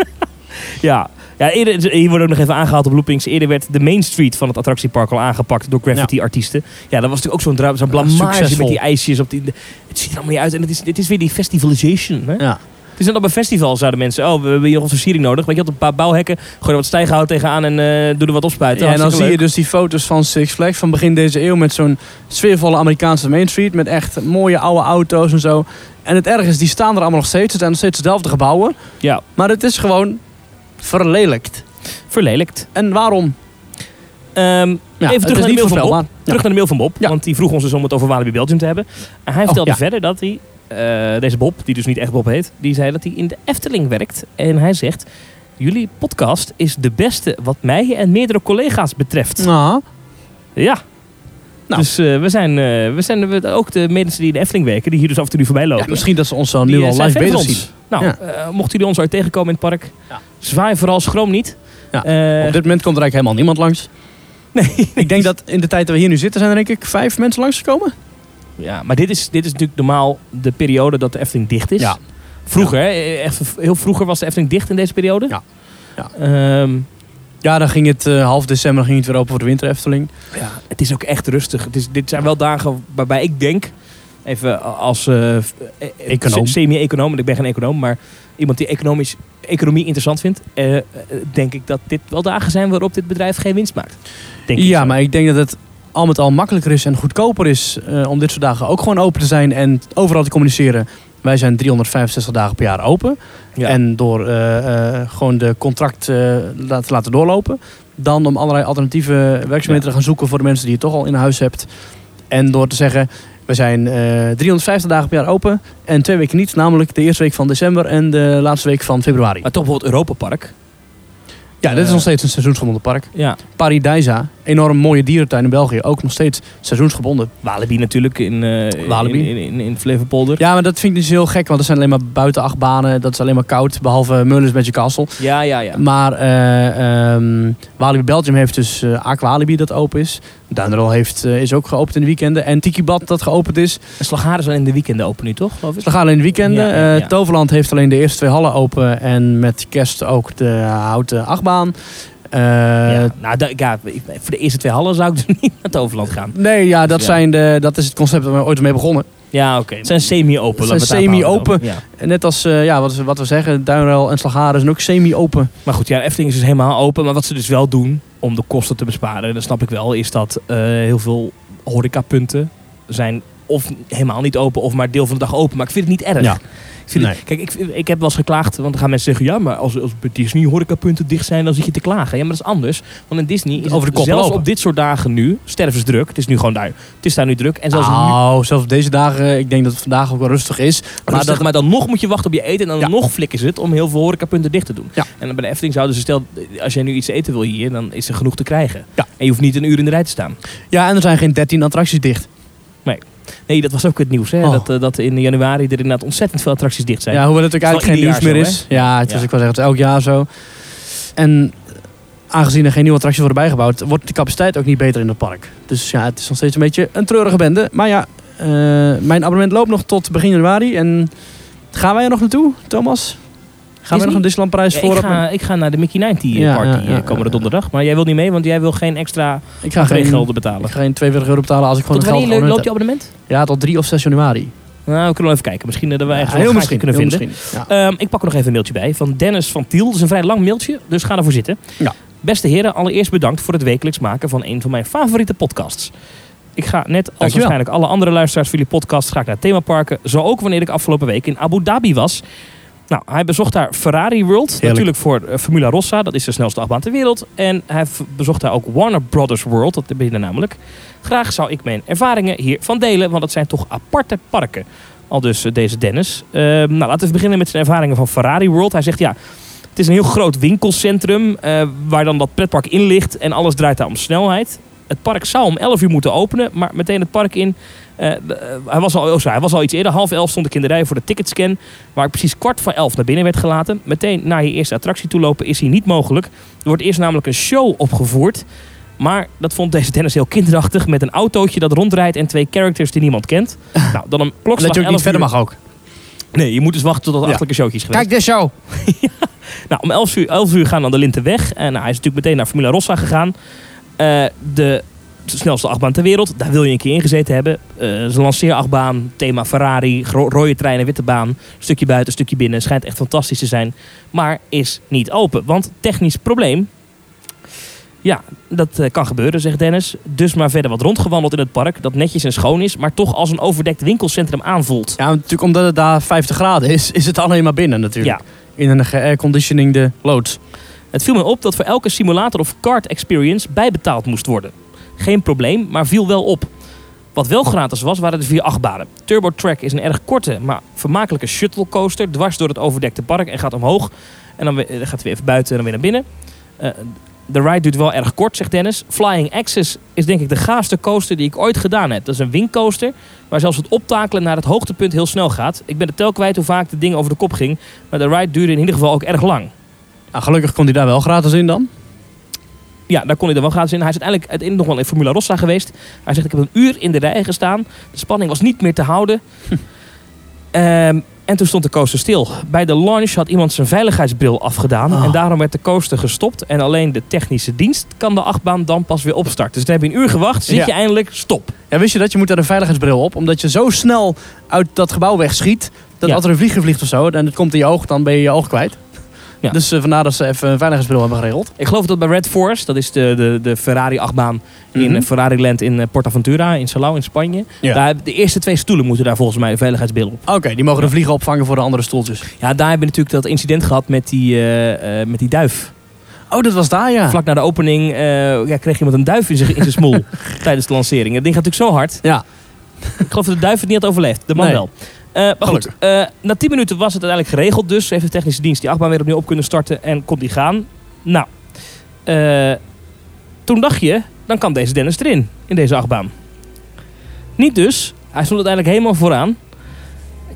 B: Ja. Ja, eerder, dus, hier wordt ook nog even aangehaald op Loopings. Eerder werd de Main Street van het attractiepark al aangepakt door graffiti-artiesten. Ja. dat was natuurlijk ook zo'n dra- zo'n blamage met
A: succesvol.
B: die ijsjes. Op die, het ziet er allemaal niet uit. En het is, het is weer die festivalization. Hè?
A: *laughs* Ja.
B: Het is net op een festival zouden mensen... Oh, we hebben hier onze versiering nodig. Weet je, had een paar bouwhekken. Gooi er wat stijghout tegenaan en eh, doe er wat opspuiten.
A: en dan zie
B: Hartstikke
A: je
B: leuk.
A: dus die foto's van Six Flags van begin deze eeuw met zo'n sfeervolle Amerikaanse Main Street. Met echt mooie oude auto's en zo. En het erg is, die staan er allemaal nog steeds. Het zijn nog steeds dezelfde gebouwen.
B: Ja,
A: Maar het is gewoon verlelijkt.
B: verlelijkt.
A: En waarom?
B: Ehm,
A: Ja,
B: Even terug naar
A: het
B: de
A: is niet
B: mail van
A: voorspelbaar. Ja.
B: Terug naar de mail van Bob,
A: Ja. Oh,
B: want die vroeg ons dus om het over Walibi Belgium te hebben. En hij vertelde
A: ja.
B: verder dat hij, eh, deze Bob, die dus niet echt Bob heet, die zei dat hij in de Efteling werkt. En hij zegt, jullie podcast is de beste wat mij en meerdere collega's betreft.
A: Ja.
B: Ja.
A: Nou.
B: Dus eh, we zijn, eh, we zijn we- ook de mensen die in de Efteling werken, die hier dus af en toe nu voorbij
A: Ja,
B: lopen.
A: misschien dat ze ons zo
B: die,
A: nu
B: eh,
A: al
B: zijn
A: live
B: fan
A: bezig
B: van ons.
A: zien.
B: Nou,
A: Ja.
B: eh, mochten jullie ons ooit tegenkomen in het park,
A: Ja.
B: zwaai vooral schroom niet.
A: Ja.
B: Eh,
A: Op dit moment komt er eigenlijk helemaal niemand *laughs* langs.
B: nee,
A: Ik denk dat in de tijd dat we hier nu zitten zijn er denk ik vijf mensen langsgekomen.
B: Ja, maar dit is, dit is natuurlijk normaal de periode dat de Efteling dicht is.
A: Ja.
B: Vroeger, hè, echt heel vroeger was de Efteling dicht in deze periode.
A: Ja. Ja.
B: Ehm,
A: Ja, dan ging het eh, half december ging het weer open voor de winter Efteling.
B: ja, het is ook echt rustig. Het is, dit zijn wel dagen waarbij ik denk, even als eh, eh,
A: Econoom.
B: se- semi-econoom, want ik ben geen econoom, maar iemand die economisch, economie interessant vindt, eh, eh, denk ik dat dit wel dagen zijn waarop dit bedrijf geen winst maakt. Denk ik
A: ja,
B: zo.
A: maar ik denk dat het al met al makkelijker is en goedkoper is eh, om dit soort dagen ook gewoon open te zijn en overal te communiceren. Wij zijn 365 dagen per jaar open.
B: Ja.
A: En door eh, eh, gewoon de contract eh, laat- te laten doorlopen. Dan om allerlei alternatieve werkzaamheden
B: Ja.
A: te gaan zoeken voor de mensen die je toch al in huis hebt. En door te zeggen, we zijn eh, 350 dagen per jaar open en twee weken niet. Namelijk de eerste week van december en de laatste week van februari.
B: maar toch bijvoorbeeld Europa Park.
A: Ja, dit is
B: eh,
A: nog steeds een seizoensgebonden park.
B: Ja.
A: Paradijsa, enorm mooie dierentuin in België. Ook nog steeds seizoensgebonden.
B: Walibi natuurlijk in, eh,
A: Walibi.
B: in, in, in, in Flevopolder.
A: Ja, maar dat vind ik dus heel gek, want er zijn alleen maar buiten acht banen. Dat is alleen maar koud, behalve Mullens Magic Castle.
B: Ja, ja, ja.
A: Maar eh, ehm, Walibi Belgium heeft dus eh Aqualibi dat open is. Duinrol heeft eh, is ook geopend in de weekenden. En Tiki Bad dat geopend is. Dus
B: En Slagharen zijn in de weekenden open nu, toch? Geloof ik?
A: dat gaan alleen in de weekenden.
B: Ja, ja, ja.
A: Eh, Toverland heeft alleen de eerste twee hallen open. En met kerst ook de houten achtbaan. Eh,
B: ja. Nou, da- ja, ik- voor de eerste twee hallen zou ik *laughs* dus niet naar het overland gaan.
A: Nee, ja, dat,
B: Ja.
A: Zijn de, dat is het concept waar we ooit mee begonnen.
B: Ja, oké. Het zijn semi-open.
A: Het
B: laten
A: zijn
B: we het daarbij houden
A: semi-open.
B: dan. Ja.
A: En Net als eh, ja, wat, wat we zeggen, Duinruil en Slagharen zijn ook semi-open.
B: Maar goed, ja, Efteling is dus helemaal open. Maar wat ze dus wel doen om de kosten te besparen, en dat snap ik wel, is dat eh, heel veel horecapunten zijn of helemaal niet open of maar deel van de dag open. Maar ik vind het niet erg.
A: Ja.
B: Ik vind het-
A: Nee.
B: kijk, ik, ik heb wel eens geklaagd, want dan gaan mensen zeggen... ja, maar als, als bij Disney horecapunten dicht zijn, dan zit je te klagen. Ja, maar dat is anders. Want in Disney is
A: Over
B: het
A: de kop
B: zelfs
A: lopen.
B: op dit soort dagen nu stervensdruk. Het is nu gewoon daar. Het is daar nu druk. En zelfs nu
A: Nou, zelfs op deze dagen, ik denk dat het vandaag ook wel rustig is.
B: Maar,
A: Maar
B: dat,
A: dat,
B: maar dan nog moet je wachten op je eten. En dan
A: Ja.
B: nog flikken ze het om heel veel horecapunten dicht te doen.
A: Ja.
B: En bij de Efteling zouden ze stel, als jij nu iets eten wil hier, dan is er genoeg te krijgen.
A: Ja.
B: En je hoeft niet een uur in de rij te staan.
A: ja, en er zijn geen 13 attracties dicht.
B: Nee, dat was ook het nieuws. Hè?
A: Oh.
B: Dat, eh, dat in januari er inderdaad ontzettend veel attracties dicht zijn.
A: Ja, hoewel het ook
B: Het is
A: eigenlijk geen
B: wel
A: nieuws
B: ieder
A: meer is.
B: jaar
A: Ja, het is
B: Ja.
A: ik wel zeggen, het is elk jaar zo. En aangezien er geen nieuwe attracties worden bijgebouwd, wordt de capaciteit ook niet beter in het park. Dus ja, het is nog steeds een beetje een treurige bende. Maar ja, eh, mijn abonnement loopt nog tot begin januari. En gaan wij er nog naartoe, Thomas? Gaan
B: Disney?
A: we nog een Disneyland Parijs
B: Ja,
A: voor?
B: ik, ga, ik ga naar de Mickey 90
A: Ja,
B: party
A: ja, ja,
B: eh, komende
A: ja.
B: donderdag. Maar jij wil niet mee, want jij wil geen extra
A: ik ga geen,
B: gelden betalen.
A: ik ga geen 42 euro betalen als ik gewoon
B: Tot
A: het geld
B: wanneer
A: gewoon
B: loopt je abonnement?
A: Ja, tot 3 of 6 januari.
B: Nou, we kunnen wel even kijken. Misschien eh, dat we
A: Ja,
B: ergens wel een gaatje kunnen vinden.
A: misschien. Ja.
B: Ehm, ik pak er nog even een mailtje bij van Dennis van Tiel. Dat is een vrij lang mailtje, dus ga ervoor zitten.
A: Ja.
B: Beste heren, allereerst bedankt voor het wekelijks maken van een van mijn favoriete podcasts. Ik ga net als
A: Dankjewel.
B: waarschijnlijk alle andere luisteraars van jullie podcast ga ik naar themaparken. Zo ook wanneer ik afgelopen week in Abu Dhabi was. Nou, hij bezocht daar Ferrari World. Natuurlijk voor eh, Formula Rossa, dat is de snelste achtbaan ter wereld. En hij v- bezocht daar ook Warner Brothers World, dat ben je daar namelijk. Graag zou ik mijn ervaringen hiervan delen, want het zijn toch aparte parken. Al dus eh, deze Dennis. Ehm, nou, laten we even beginnen met zijn ervaringen van Ferrari World. Hij zegt ja, het is een heel groot winkelcentrum eh, waar dan dat pretpark in ligt en alles draait daar om snelheid. Het park zou om 11 uur moeten openen, maar meteen het park in. Eh, de- eh, hij, was al, oh, sorry, hij was al iets eerder. Half elf stond ik in de rij voor de ticketscan. Waar ik precies kwart voor elf naar binnen werd gelaten. Meteen naar je eerste attractie toe lopen is hier niet mogelijk. Er wordt eerst namelijk een show opgevoerd. Maar dat vond deze Dennis heel kinderachtig. Met een autootje dat rondrijdt en twee characters die
A: *laughs*
B: niemand kent. Nou, dan een klokslag
A: Dat je ook
B: 11
A: niet verder
B: uur-
A: mag ook.
B: Nee, je moet dus wachten tot de
A: Ja.
B: achterlijke showtjes geweest.
A: Kijk, dit show.
B: Nou, om 11 uur, 11 uur gaan dan de linten weg. En nou, hij is natuurlijk meteen naar Formula Rossa gegaan. Eh, de snelste achtbaan ter wereld. Daar wil je een keer in gezeten hebben. Eh, Het is een lanceerachtbaan, thema Ferrari, gro- rode treinen, witte baan. Stukje buiten, stukje binnen. Schijnt echt fantastisch te zijn. Maar is niet open. Want technisch probleem. Ja, dat eh, kan gebeuren, zegt Dennis. Dus maar verder wat rondgewandeld in het park. Dat netjes en schoon is, maar toch als een overdekt winkelcentrum aanvoelt.
A: Ja, natuurlijk omdat het daar 50 graden is, is het alleen maar binnen natuurlijk. In een geairconditioningde loods.
B: Het viel me op dat voor elke simulator of kart experience bijbetaald moest worden. Geen probleem, maar viel wel op. Wat wel gratis was, waren de vier achtbanen. Turbo Track is een erg korte, maar vermakelijke shuttlecoaster... dwars door het overdekte park en gaat omhoog. En dan weer- eh, gaat weer even buiten en dan weer naar binnen. Eh, de ride duurt wel erg kort, zegt Dennis. Flying Axis is denk ik de gaafste coaster die ik ooit gedaan heb. Dat is een wingcoaster waar zelfs het optakelen naar het hoogtepunt heel snel gaat. Ik ben de tel kwijt hoe vaak het ding over de kop ging. Maar de ride duurde in ieder geval ook erg lang.
A: Nou, gelukkig kon hij daar wel gratis in dan.
B: Ja, daar kon hij dan wel gratis in. Hij is uiteindelijk uiteindelijk nog wel in Formula Rossa geweest. Hij zegt, ik heb een uur in de rij gestaan. De spanning was niet meer te houden.
A: Hm.
B: Ehm, en toen stond de coaster stil. Bij de launch had iemand zijn veiligheidsbril afgedaan.
A: Ah.
B: En daarom werd de coaster gestopt. En alleen de technische dienst kan de achtbaan dan pas weer opstarten. Dus dan heb je een uur gewacht. Zit
A: Ja.
B: je eindelijk, stop.
A: Ja, wist je dat? Je moet daar een veiligheidsbril op. Omdat je zo snel uit dat gebouw wegschiet. Dat
B: Ja.
A: als er een vlieger vliegt of zo, en het komt in je oog, dan ben je je oog kwijt.
B: Ja.
A: Dus eh, vandaar dat ze even een veiligheidsbril hebben geregeld.
B: Ik geloof dat bij Red Forest, dat is de, de, de Ferrari-achtbaan in
A: Mhm.
B: eh, Ferrari Land in eh, Portaventura, in Salau in Spanje.
A: Ja.
B: Daar, de eerste twee stoelen moeten daar volgens mij een veiligheidsbril op.
A: Oké, die mogen de vliegen opvangen voor de andere stoeltjes.
B: Ja, daar hebben we natuurlijk dat incident gehad met die, eh, eh, met die duif.
A: Oh, dat was daar, ja.
B: Vlak na de opening eh, ja, kreeg iemand een duif in zijn, in zijn smoel
A: *laughs*
B: tijdens de lancering. Het ding gaat natuurlijk zo hard.
A: Ja.
B: Ik geloof dat de duif het niet had overleefd. De man
A: Nee.
B: wel. Eh, maar goed,
A: Gelukkig.
B: eh, na 10 minuten was het uiteindelijk geregeld. Dus heeft de technische dienst die achtbaan weer opnieuw op kunnen starten. En kon die gaan. Nou, eh, toen dacht je, dan kan deze Dennis erin. In deze achtbaan. Niet dus. Hij stond uiteindelijk helemaal vooraan.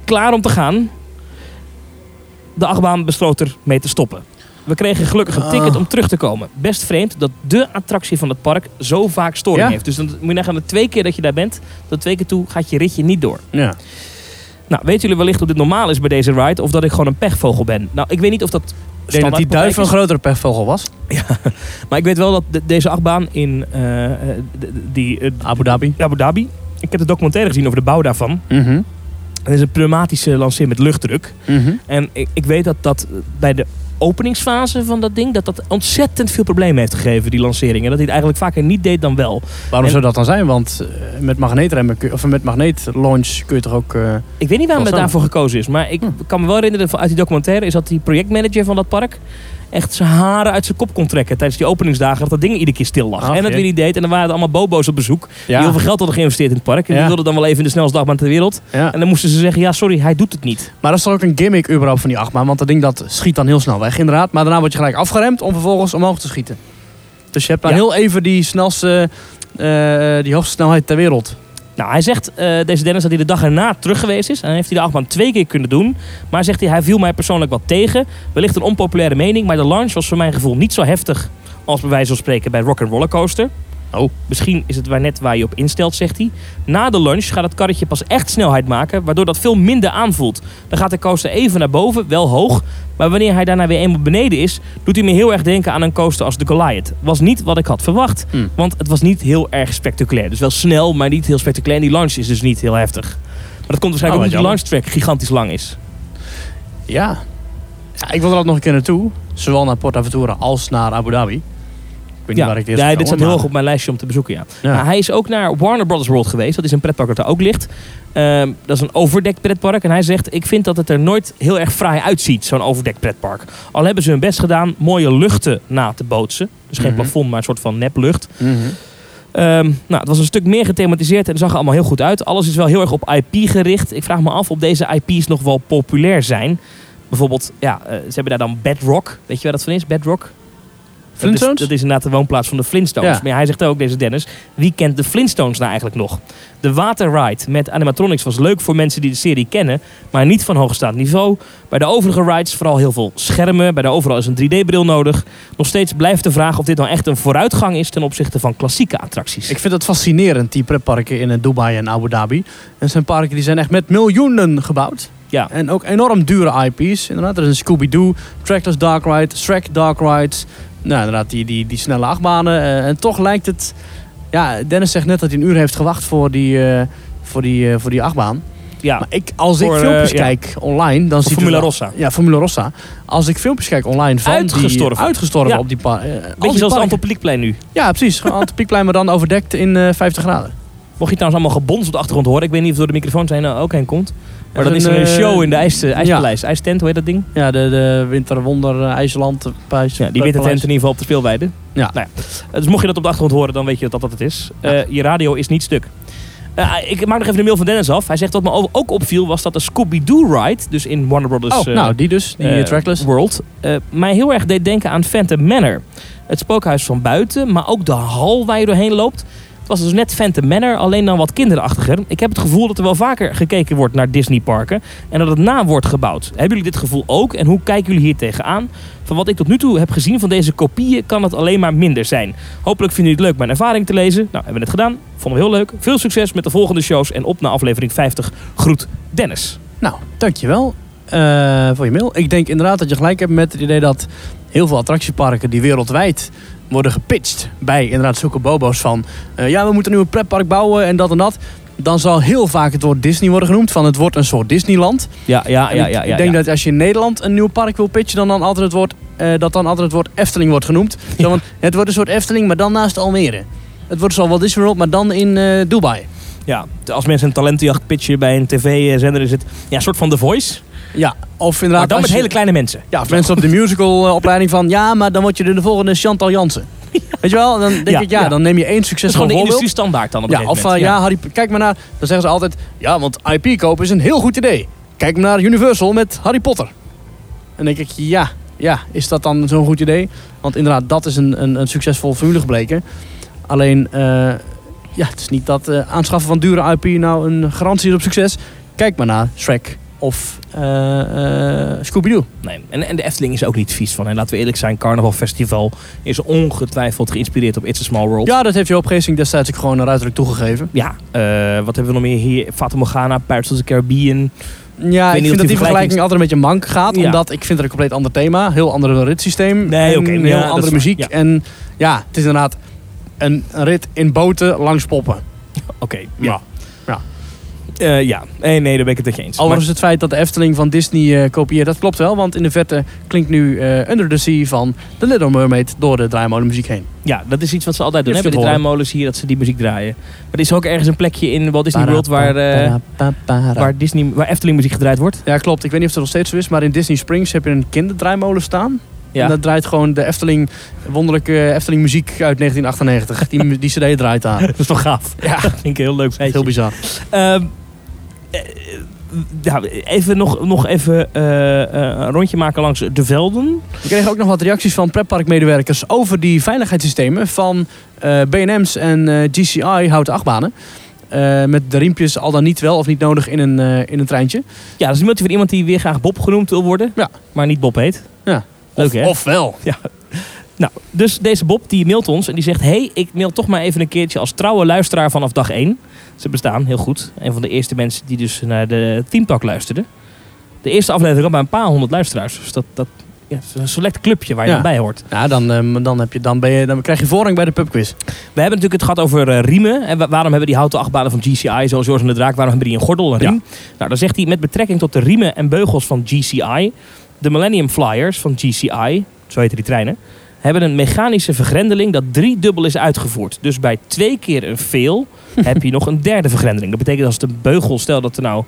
B: Klaar om te gaan. De achtbaan besloot ermee te stoppen. We kregen gelukkig een ticket
A: Ah.
B: om terug te komen. Best vreemd dat de attractie van het park zo vaak storing
A: Ja.
B: heeft. Dus dan moet je nagaan, de twee keer dat je daar bent, tot twee keer toe gaat je ritje niet door.
A: Ja.
B: Nou, weten jullie wellicht of dit normaal is bij deze ride of dat ik gewoon een pechvogel ben? Nou, ik weet niet of dat.
A: Ik denk dat die
B: standaardpraktijk
A: duif een
B: is,
A: grotere pechvogel was.
B: Maar ik weet wel dat de- deze achtbaan in eh, eh, de- de- die, eh,
A: Abu Dhabi.
B: Mhm, Abu Dhabi. Ik heb de documentaire gezien over de bouw daarvan. Dat is een pneumatische lanceer met luchtdruk.
A: Mhm.
B: En ik, ik weet dat dat eh, bij de openingsfase van dat ding... dat dat ontzettend veel problemen heeft gegeven, die lancering. En dat hij het eigenlijk vaker niet deed dan wel.
A: Waarom
B: En-
A: zou dat dan zijn? Want eh, met magneetremmen kun je- of met magneetlaunch kun je toch ook. eh,
B: Ik weet niet waarom
A: Wel
B: het
A: zo.
B: daarvoor gekozen is. Maar ik
A: Hm.
B: kan me wel herinneren van- uit die documentaire... is dat die projectmanager van dat park... echt zijn haren uit zijn kop kon trekken tijdens die openingsdagen... dat dat ding iedere keer stil lag.
A: Ach,
B: en dat
A: jee.
B: weer niet deed. En dan waren er allemaal bobo's op bezoek... die heel veel geld hadden geïnvesteerd in het park. En die
A: Ja.
B: wilden dan wel even in de snelste achtbaan ter wereld.
A: ja.
B: En dan moesten ze zeggen, ja sorry, hij doet het niet.
A: Maar dat is toch ook een gimmick überhaupt van die achtbaan. Want dat ding dat schiet dan heel snel weg inderdaad. Maar daarna word je gelijk afgeremd om vervolgens omhoog te schieten. Dus je hebt dan
B: Ja.
A: heel even die snelste, eh, die hoogste snelheid ter wereld.
B: Nou, hij zegt, eh, deze Dennis, dat hij de dag erna terug geweest is. En dan heeft hij de achtbaan twee keer kunnen doen. Maar zegt hij, hij viel mij persoonlijk wat tegen. Wellicht een onpopulaire mening, maar de launch was voor mijn gevoel niet zo heftig... als bij wijze van spreken bij Rock and Roller Coaster.
A: Oh.
B: Misschien is het waar net waar je op instelt, zegt hij. Na de lunch gaat het karretje pas echt snelheid maken, waardoor dat veel minder aanvoelt. Dan gaat de coaster even naar boven, wel hoog. Maar wanneer hij daarna weer eenmaal beneden is, doet hij me heel erg denken aan een coaster als de Goliath. Was niet wat ik had verwacht,
A: Hmm.
B: want het was niet heel erg spectaculair. Dus wel snel, maar niet heel spectaculair. En die launch is dus niet heel heftig. Maar dat komt
A: Oh,
B: waarschijnlijk
A: wat
B: omdat die launch track gigantisch lang is.
A: Ja. ja ik wil er altijd nog een keer naartoe. Zowel naar Port Aventura als naar Abu Dhabi. Ik weet niet waar ik het eerst
B: ja,
A: ga
B: dit staat heel
A: hoor,
B: hoog op mijn lijstje om te bezoeken, ja.
A: Ja.
B: Nou, hij is ook naar Warner Brothers World geweest. Dat is een pretpark dat daar ook ligt. Ehm, dat is een overdekt pretpark. En hij zegt, ik vind dat het er nooit heel erg fraai uitziet, zo'n overdekt pretpark. Al hebben ze hun best gedaan mooie luchten na te bootsen. Dus geen
A: Mhm.
B: plafond, maar een soort van neplucht.
A: maar- Mhm.
B: Ehm, nou, het was een stuk meer gethematiseerd en het zag er allemaal heel goed uit. Alles is wel heel erg op IP gericht. Ik vraag me af of deze IP's nog wel populair zijn. Bijvoorbeeld, ja, eh, ze hebben daar dan Bedrock. Weet je waar dat van is? Bedrock? Dat
A: Flintstones?
B: is, dat is inderdaad de woonplaats van de Flintstones.
A: Ja.
B: Maar ja, hij zegt ook, deze Dennis, wie kent de Flintstones nou eigenlijk nog? De waterride met animatronics was leuk voor mensen die de serie kennen, maar niet van hoogstaand niveau. Bij de overige rides vooral heel veel schermen. Bij de overal is een 3D-bril nodig. Nog steeds blijft de vraag of dit nou echt een vooruitgang is ten opzichte van klassieke attracties.
A: Ik vind het fascinerend, die pretparken in eh, Dubai en Abu Dhabi. Dat zijn parken die zijn echt met miljoenen gebouwd.
B: Ja.
A: En ook enorm dure IP's. Inderdaad, er is een Scooby-Doo, Trackless Dark Ride, Shrek Dark Rides. Nou, inderdaad, die, die, die snelle achtbanen. eh, en toch lijkt het... Ja, Dennis zegt net dat hij een uur heeft gewacht voor die, eh, voor die, eh, voor die achtbaan.
B: Ja,
A: Maar ik, als ik
B: Voor, eh,
A: filmpjes
B: ja.
A: kijk online, dan zie
B: of
A: ik...
B: Formula Rossa.
A: Ja, Formula Rossa. Als ik filmpjes kijk online van
B: Uitgestorven.
A: die... Uitgestorven.
B: Ja.
A: op die pa- eh, al die
B: Beetje zoals het
A: parken.
B: Antropiekplein nu.
A: Ja, precies. Gewoon Antropiekplein, maar dan overdekt in eh, 50 graden.
B: Mocht je trouwens allemaal gebons op de achtergrond horen. Ik weet niet of het door de microfoon zijn eh, ook heen komt. Maar
A: Dat
B: dat is
A: is
B: een
A: een,
B: eh,
A: eh,
B: show in de ijs, eh,
A: ja.
B: ijspaleis. IJstent, hoe heet dat ding?
A: Ja, de, de Winterwonder eh, IJsland. eh, Paleis-
B: Ja, die witte tent in
A: Paleis.
B: ieder geval op de speelweide.
A: Ja.
B: Nou ja. Dus mocht je dat op de achtergrond horen, dan weet je dat dat het is. Eh, je radio is niet stuk. Eh, ik maak nog even de mail van Dennis af. Hij zegt wat me ook opviel was dat de Scooby-Doo ride, dus in Warner Brothers
A: Oh,
B: eh,
A: nou, die dus. Die
B: eh,
A: eh, trackless.
B: World, eh, mij heel erg deed denken aan Phantom Manor. Het spookhuis van buiten, maar ook de hal waar je doorheen loopt. Het was dus net Phantom Manor, alleen dan wat kinderachtiger. Ik heb het gevoel dat er wel vaker gekeken wordt naar Disneyparken en dat het na wordt gebouwd. Hebben jullie dit gevoel ook en hoe kijken jullie hier tegenaan? Van wat ik tot nu toe heb gezien van deze kopieën kan het alleen maar minder zijn. Hopelijk vinden jullie het leuk mijn ervaring te lezen. Nou, hebben we het gedaan. Vonden we heel leuk. Veel succes met de volgende shows en op naar aflevering 50. Groet Dennis.
A: Nou, dankjewel eh, voor je mail. Ik denk inderdaad dat je gelijk hebt met het idee dat heel veel attractieparken die wereldwijd worden gepitcht bij inderdaad zulke bobo's van eh, ja, we moeten nu een pretpark bouwen en dat en dat. Dan zal heel vaak het woord Disney worden genoemd. Van het wordt een soort Disneyland.
B: Ja, ja,
A: En ik- ik denk dat als je in Nederland een nieuw park wil pitchen, dan, dan altijd het woord, eh, dat dan altijd het woord Efteling wordt genoemd. Zo, want het wordt een soort Efteling, maar dan naast Almere. Het wordt zoal Walt Disney World, maar dan in eh, Dubai.
B: Ja, als mensen een talentenjacht pitchen bij een tv-zender is het ja, een soort van The Voice.
A: Ja, of inderdaad...
B: Maar dan
A: als
B: met
A: je-
B: hele kleine mensen.
A: Ja, of *laughs* mensen op de musicalopleiding van... Ja, maar dan word je de, de volgende Chantal Jansen. Weet je wel? Dan denk
B: Ja,
A: ik, ja,
B: ja.
A: dan neem je één
B: Dat is
A: succesvol
B: gewoon de
A: voorbeeld.
B: industrie standaard dan op een
A: Ja, of eh,
B: gegeven
A: van,
B: moment.
A: ja, Harry, kijk maar naar... Dan zeggen ze altijd... Ja, want IP kopen is een heel goed idee. Kijk maar naar Universal met Harry Potter. En dan denk ik, ja, ja, is dat dan zo'n goed idee? Want inderdaad, dat is een, een, een succesvol formule gebleken. Alleen, eh, ja, het is niet dat eh, aanschaffen van dure IP nou een garantie is op succes. Kijk maar naar Shrek of eh, eh, Scooby-Doo.
B: Nee. En, en de Efteling is er ook niet vies van. En laten we eerlijk zijn, Carnaval Festival is ongetwijfeld geïnspireerd op It's a Small World.
A: Ja, dat heeft Joop Geesink destijds ook gewoon ruiterlijk toegegeven.
B: Ja, eh, wat hebben we nog meer hier? Fata Morgana, Pirates of the Caribbean.
A: Ja, ik vind dat
B: niet of die
A: die
B: vergelijking
A: vergelijking altijd een beetje mank gaat.
B: Ja.
A: Omdat ik vind het een compleet ander thema. Heel ander ritssysteem.
B: Nee,
A: en
B: oké,
A: Heel
B: ja, dat is
A: andere
B: waar,
A: muziek.
B: ja.
A: En ja, het is inderdaad een rit in boten langs poppen.
B: Oké, ja.
A: Ja.
B: Eh, ja, nee, nee, daar ben ik het met je eens.
A: Overigens het feit dat de Efteling van Disney eh, kopieert, dat klopt wel. Want in de verte klinkt nu eh, Under the Sea van The Little Mermaid door de draaimolenmuziek heen.
B: Maar- ja, dat is iets wat ze altijd doen.
A: Ja,
B: hè, bij
A: vind
B: die
A: ik hoor.
B: draaimolens hier, dat ze die muziek draaien. Maar er is ook ergens een plekje in Walt Disney World waar, eh,
A: Para, pa, pa, para.
B: waar, Disney, waar Efteling muziek gedraaid wordt.
A: Ja, klopt. Ik weet niet of het nog steeds zo is, maar in Disney Springs heb je een kinderdraaimolen staan.
B: Ja.
A: En dat draait gewoon de Efteling, wonderlijke Efteling muziek uit 1998. Die, mu- die cd draait daar.
B: *laughs* Dat is toch gaaf? Ja, vind ik een heel leuk feitje.
A: Heel bizar.
B: Ehm, eh, ja, even nog, nog even eh, eh, een rondje maken langs de velden.
A: We kregen ook nog wat reacties van pretparkmedewerkers over die veiligheidssystemen van eh, B&M's en eh, GCI houten achtbanen. Eh, met de riempjes al dan niet wel of niet nodig in een, eh, in een treintje.
B: Ja, dat is iemand van iemand die weer graag Bob genoemd wil worden.
A: Ja.
B: Maar niet Bob heet.
A: Ja.
B: Leuk hè?
A: Ofwel.
B: Nou, dus deze Bob die mailt ons en die zegt... hey, ik mail toch maar even een keertje als trouwe luisteraar vanaf dag 1. Ze bestaan, heel goed. Een van de eerste mensen die dus naar de Teamtalk luisterden. De eerste aflevering had maar een paar honderd luisteraars. Dus dat, dat ja, het is een select clubje waar je
A: Ja.
B: dan bij hoort.
A: Ja, dan, eh, dan, heb je, dan, ben je, dan krijg je voorrang bij de pubquiz.
B: We hebben natuurlijk het gehad over eh, riemen. En wa- waarom hebben die houten achtbanen van GCI, zoals Joris en de Draak, waarom hebben die een gordel en riem? Nou, dan zegt hij met betrekking tot de riemen en beugels van GCI, de Millennium Flyers van GCI, zo heten die treinen, hebben een mechanische vergrendeling dat driedubbel is uitgevoerd. Dus bij twee keer een
A: *laughs*
B: veel heb je nog een derde vergrendeling. Dat betekent als de beugel, stel dat er nou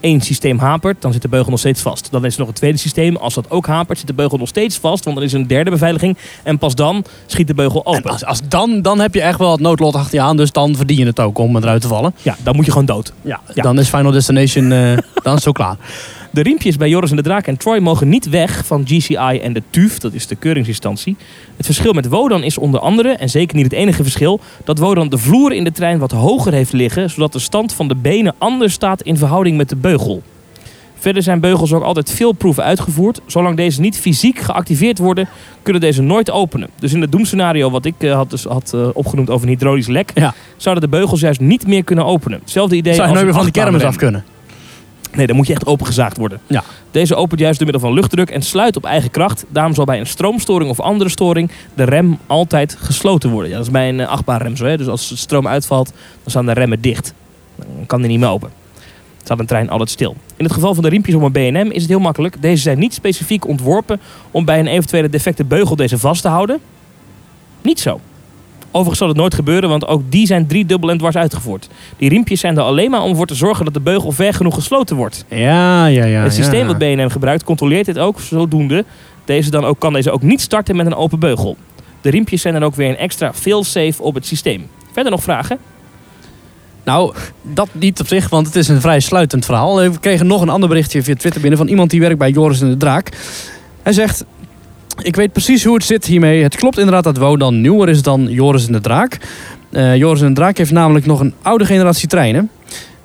B: één systeem hapert, dan zit de beugel nog steeds vast. Dan is er nog een tweede systeem. Als dat ook hapert, zit de beugel nog steeds vast, want er is een derde beveiliging. En pas dan schiet de beugel open.
A: En als, als dan, dan heb je echt wel het noodlot achter je aan. Dus dan verdien je het ook om eruit te vallen.
B: Ja, dan moet je gewoon dood.
A: Ja,
B: ja.
A: Dan is Final Destination eh, dan is het zo klaar.
B: De riempjes bij Joris en de Draak en Troy mogen niet weg van GCI en de TUF, dat is de keuringsinstantie. Het verschil met Wodan is onder andere, en zeker niet het enige verschil, dat Wodan de vloer in de trein wat hoger heeft liggen, zodat de stand van de benen anders staat in verhouding met de beugel. Verder zijn beugels ook altijd veel proeven uitgevoerd. Zolang deze niet fysiek geactiveerd worden, kunnen deze nooit openen. Dus in het doemscenario wat ik eh, had, dus, had eh, opgenoemd over een hydraulisch lek,
A: Ja.
B: zouden de beugels juist niet meer kunnen openen. Hetzelfde idee
A: Zou je
B: als
A: nooit
B: een
A: meer van de kermis
B: achtbaanrem.
A: af kunnen.
B: Nee, dan moet je echt opengezaagd worden.
A: Ja.
B: Deze opent juist door middel van luchtdruk en sluit op eigen kracht. Daarom zal bij een stroomstoring of andere storing de rem altijd gesloten worden. Ja, dat is bij een eh, achtbaanrem zo. Hè? Dus als de stroom uitvalt, dan staan de remmen dicht. Dan kan die niet meer open. Dan staat een trein altijd stil. In het geval van de riempjes om een BNM is het heel makkelijk. Deze zijn niet specifiek ontworpen om bij een eventuele defecte beugel deze vast te houden. Niet zo. Overigens zal het nooit gebeuren, want ook die zijn driedubbel en dwars uitgevoerd. Die riempjes zijn er alleen maar om voor te zorgen dat de beugel ver genoeg gesloten wordt.
A: Ja, ja, ja.
B: Het systeem
A: ja.
B: wat BNN gebruikt controleert dit ook zodoende. Deze dan ook, kan deze ook niet starten met een open beugel. De riempjes zijn dan ook weer een extra failsafe op het systeem. Verder nog vragen?
A: Nou, dat niet op zich, want het is een vrij sluitend verhaal. We kregen nog een ander berichtje via Twitter binnen van iemand die werkt bij Joris en de Draak. Hij zegt: Ik weet precies hoe het zit hiermee. Het klopt inderdaad dat Wodan nieuwer is dan Joris en de Draak. Eh, Joris en de Draak heeft namelijk nog een oude generatie treinen.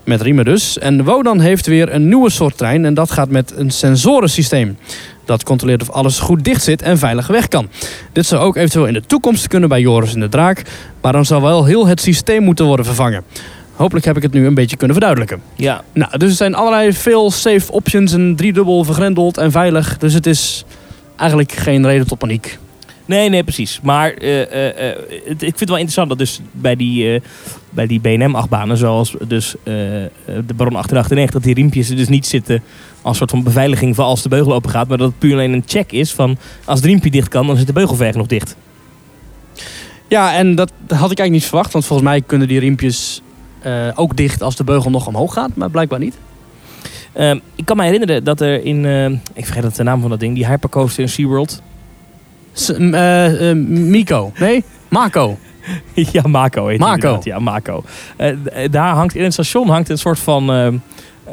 A: Met riemen dus. En Wodan heeft weer een nieuwe soort trein. En dat gaat met een sensorensysteem. Dat controleert of alles goed dicht zit en veilig weg kan. Dit zou ook eventueel in de toekomst kunnen bij Joris en de Draak. Maar dan zou wel heel het systeem moeten worden vervangen. Hopelijk heb ik het nu een beetje kunnen verduidelijken.
B: Ja,
A: Nou, dus er zijn allerlei veel safe options en driedubbel vergrendeld en veilig. Dus het is eigenlijk geen reden tot paniek.
B: Nee, nee, precies. Maar eh, eh, eh, het- ik vind het wel interessant dat dus bij die, eh, bij die BNM-achtbanen, zoals dus eh, eh, de Baron 898, dat die riempjes er dus niet zitten als soort van beveiliging voor als de beugel open gaat. Maar dat het puur alleen een check is van als het riempje dicht kan, dan zit de beugel ver nog dicht.
A: Ja, en dat had ik eigenlijk niet verwacht, want volgens mij kunnen die riempjes eh, ook dicht als de beugel nog omhoog gaat, maar blijkbaar niet.
B: Ehm, ik kan me herinneren dat er in, ehm, ik vergeet het de naam van dat ding, die hypercoaster in SeaWorld. *laughs*
A: S- m- eh, eh, Mico, nee, Mako.
B: ja, Mako heet die
A: Mako.
B: inderdaad. Ja, Mako. Eh, d- daar hangt, in het station hangt een soort van ehm,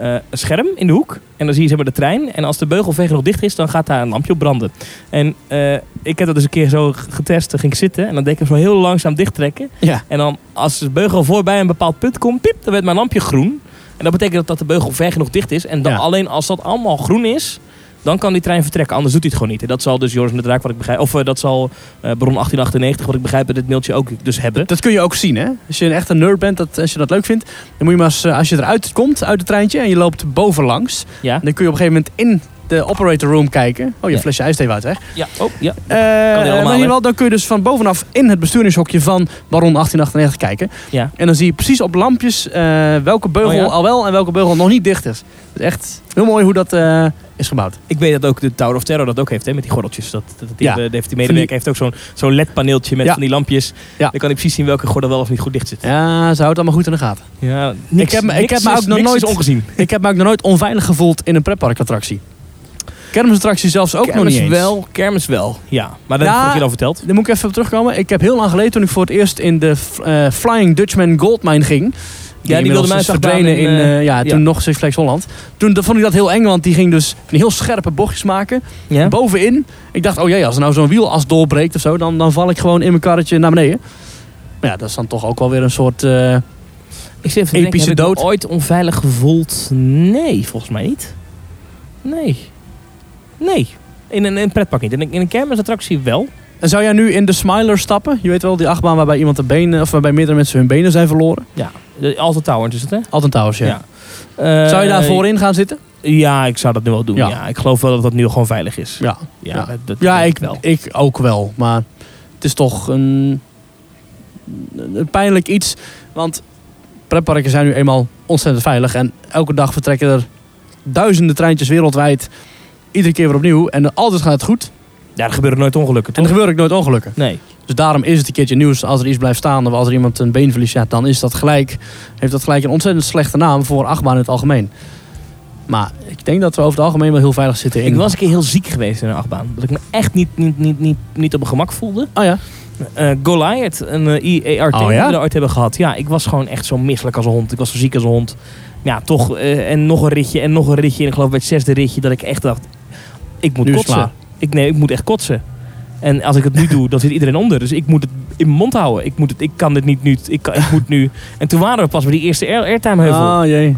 B: eh, scherm in de hoek. En dan zie je zeg maar de trein. En als de beugelveger nog dicht is, dan gaat daar een lampje op branden. En eh, ik heb dat dus een keer zo g- getest. Dan ging ik zitten en dan deed ik hem zo heel langzaam dichttrekken.
A: Ja.
B: En dan als de beugel voorbij een bepaald punt komt, piep, dan werd mijn lampje groen. En dat betekent dat, dat de beugel ver genoeg dicht is. En dan
A: Ja.
B: alleen als dat allemaal groen is, dan kan die trein vertrekken. Anders doet hij het gewoon niet. En dat zal dus Joris en de Draak, wat ik begrijp. Of eh, dat zal eh Bron 1898, wat ik begrijp, bij dit mailtje ook dus hebben.
A: Dat kun je ook zien, hè? Als je een echte nerd bent, dat, als je dat leuk vindt, dan moet je maar eens, eh, als je eruit komt uit het treintje en je loopt bovenlangs,
B: Ja.
A: dan kun je op een gegeven moment in de operator room kijken. Oh, je
B: Ja.
A: flesje ijsthee waait weg.
B: Ja, oh, ja.
A: Eh,
B: hij
A: maar
B: allemaal,
A: in ieder
B: hè?
A: geval, dan kun je dus van bovenaf in het besturingshokje van Baron 1898 kijken.
B: Ja.
A: En dan zie je precies op lampjes eh, welke beugel
B: Oh ja?
A: al wel en welke beugel nog niet dicht is. Dus echt heel mooi hoe dat eh, is gebouwd.
B: Ik weet dat ook de Tower of Terror dat ook heeft, hè, met die gordeltjes. Dat, dat, dat die-
A: Ja.
B: de- heeft die medewerker heeft ook zo'n zo'n LED-paneeltje met
A: Ja.
B: van die lampjes.
A: Ja.
B: Dan kan hij precies zien welke gordel wel of niet goed dicht zit.
A: Ja, ze houdt allemaal goed in de gaten.
B: Ja, niks,
A: Ik heb me- ik
B: niks
A: heb me
B: is-
A: ook nog
B: niks is
A: nooit-
B: ongezien.
A: Ik heb me ook nog nooit onveilig gevoeld in een pretparkattractie. Kermisattractie zelfs ook nog niet eens.
B: wel, kermis wel. Ja, maar dat
A: Ja.
B: heb ik je al verteld.
A: Daar moet ik even op terugkomen. Ik heb heel lang geleden, toen ik voor het eerst in de eh, Flying Dutchman Goldmine ging.
B: die wilde
A: inmiddels
B: mij
A: is
B: zag
A: verdwenen in,
B: daar in,
A: eh, ja, toen
B: ja.
A: nog Six Flags Holland. Toen dat- vond ik dat heel eng, want die ging dus van die heel scherpe bochtjes maken.
B: Ja.
A: Bovenin. Ik dacht, oh jee, als er nou zo'n wielas doorbreekt of zo, dan, dan val ik gewoon in mijn karretje naar beneden. Maar ja, dat is dan toch ook wel weer een soort... eh,
B: Ik zit even te denken,
A: Epische
B: heb ik me
A: dood.
B: ooit onveilig gevoeld? Nee, volgens mij niet. Nee. Nee. In een, in een pretpark niet. In een, in een kermisattractie wel.
A: En zou jij nu in de Smiler stappen? Je weet wel, die achtbaan waarbij iemand de benen, of waarbij meerdere mensen hun benen zijn verloren.
B: De Alta Tower is het, hè?
A: Alton Towers, ja.
B: Ja.
A: Zou je daar
B: Eh,
A: voorin gaan zitten?
B: Ja, ik zou dat nu wel doen.
A: Ja.
B: Ja. ik geloof wel dat dat nu gewoon veilig is.
A: Ja.
B: Ja,
A: Ja.
B: Dat, dat
A: Ja,
B: denk
A: ik, ik ook wel. Maar het is toch een, een pijnlijk iets. Want pretparken zijn nu eenmaal ontzettend veilig. En elke dag vertrekken er duizenden treintjes wereldwijd. Iedere keer weer opnieuw. En altijd gaat het goed.
B: Ja, er gebeuren nooit ongelukken,
A: En
B: toch?
A: er gebeuren ook nooit ongelukken.
B: Nee.
A: Dus daarom is het een keertje nieuws. Als er iets blijft staan of als er iemand een been verliest, ja, dan is dat gelijk, heeft dat gelijk een ontzettend slechte naam voor achtbaan in het algemeen. Maar ik denk dat we over het algemeen wel heel veilig zitten. In...
B: Ik was een keer heel ziek geweest in een achtbaan. Dat ik me echt niet, niet, niet, niet, niet op mijn gemak voelde.
A: Oh ja.
B: Eh, Goliath, een eh, IART
A: Oh,
B: die
A: ja?
B: we daar ooit hebben gehad. Ja, ik was gewoon echt zo misselijk als een hond. Ik was zo ziek als een hond. Ja, toch. eh, en nog een ritje en nog een ritje. En ik geloof bij het zesde ritje dat ik echt dacht... Ik moet
A: Nu is het
B: kotsen. Ik, nee, ik moet echt kotsen. En als ik het nu doe, dan zit iedereen onder. Dus ik moet het in mijn mond houden. Ik, moet het, ik kan dit niet nu. Ik, kan, ik moet nu. En toen waren we pas bij die eerste air- airtime heuvel.
A: Oh jee.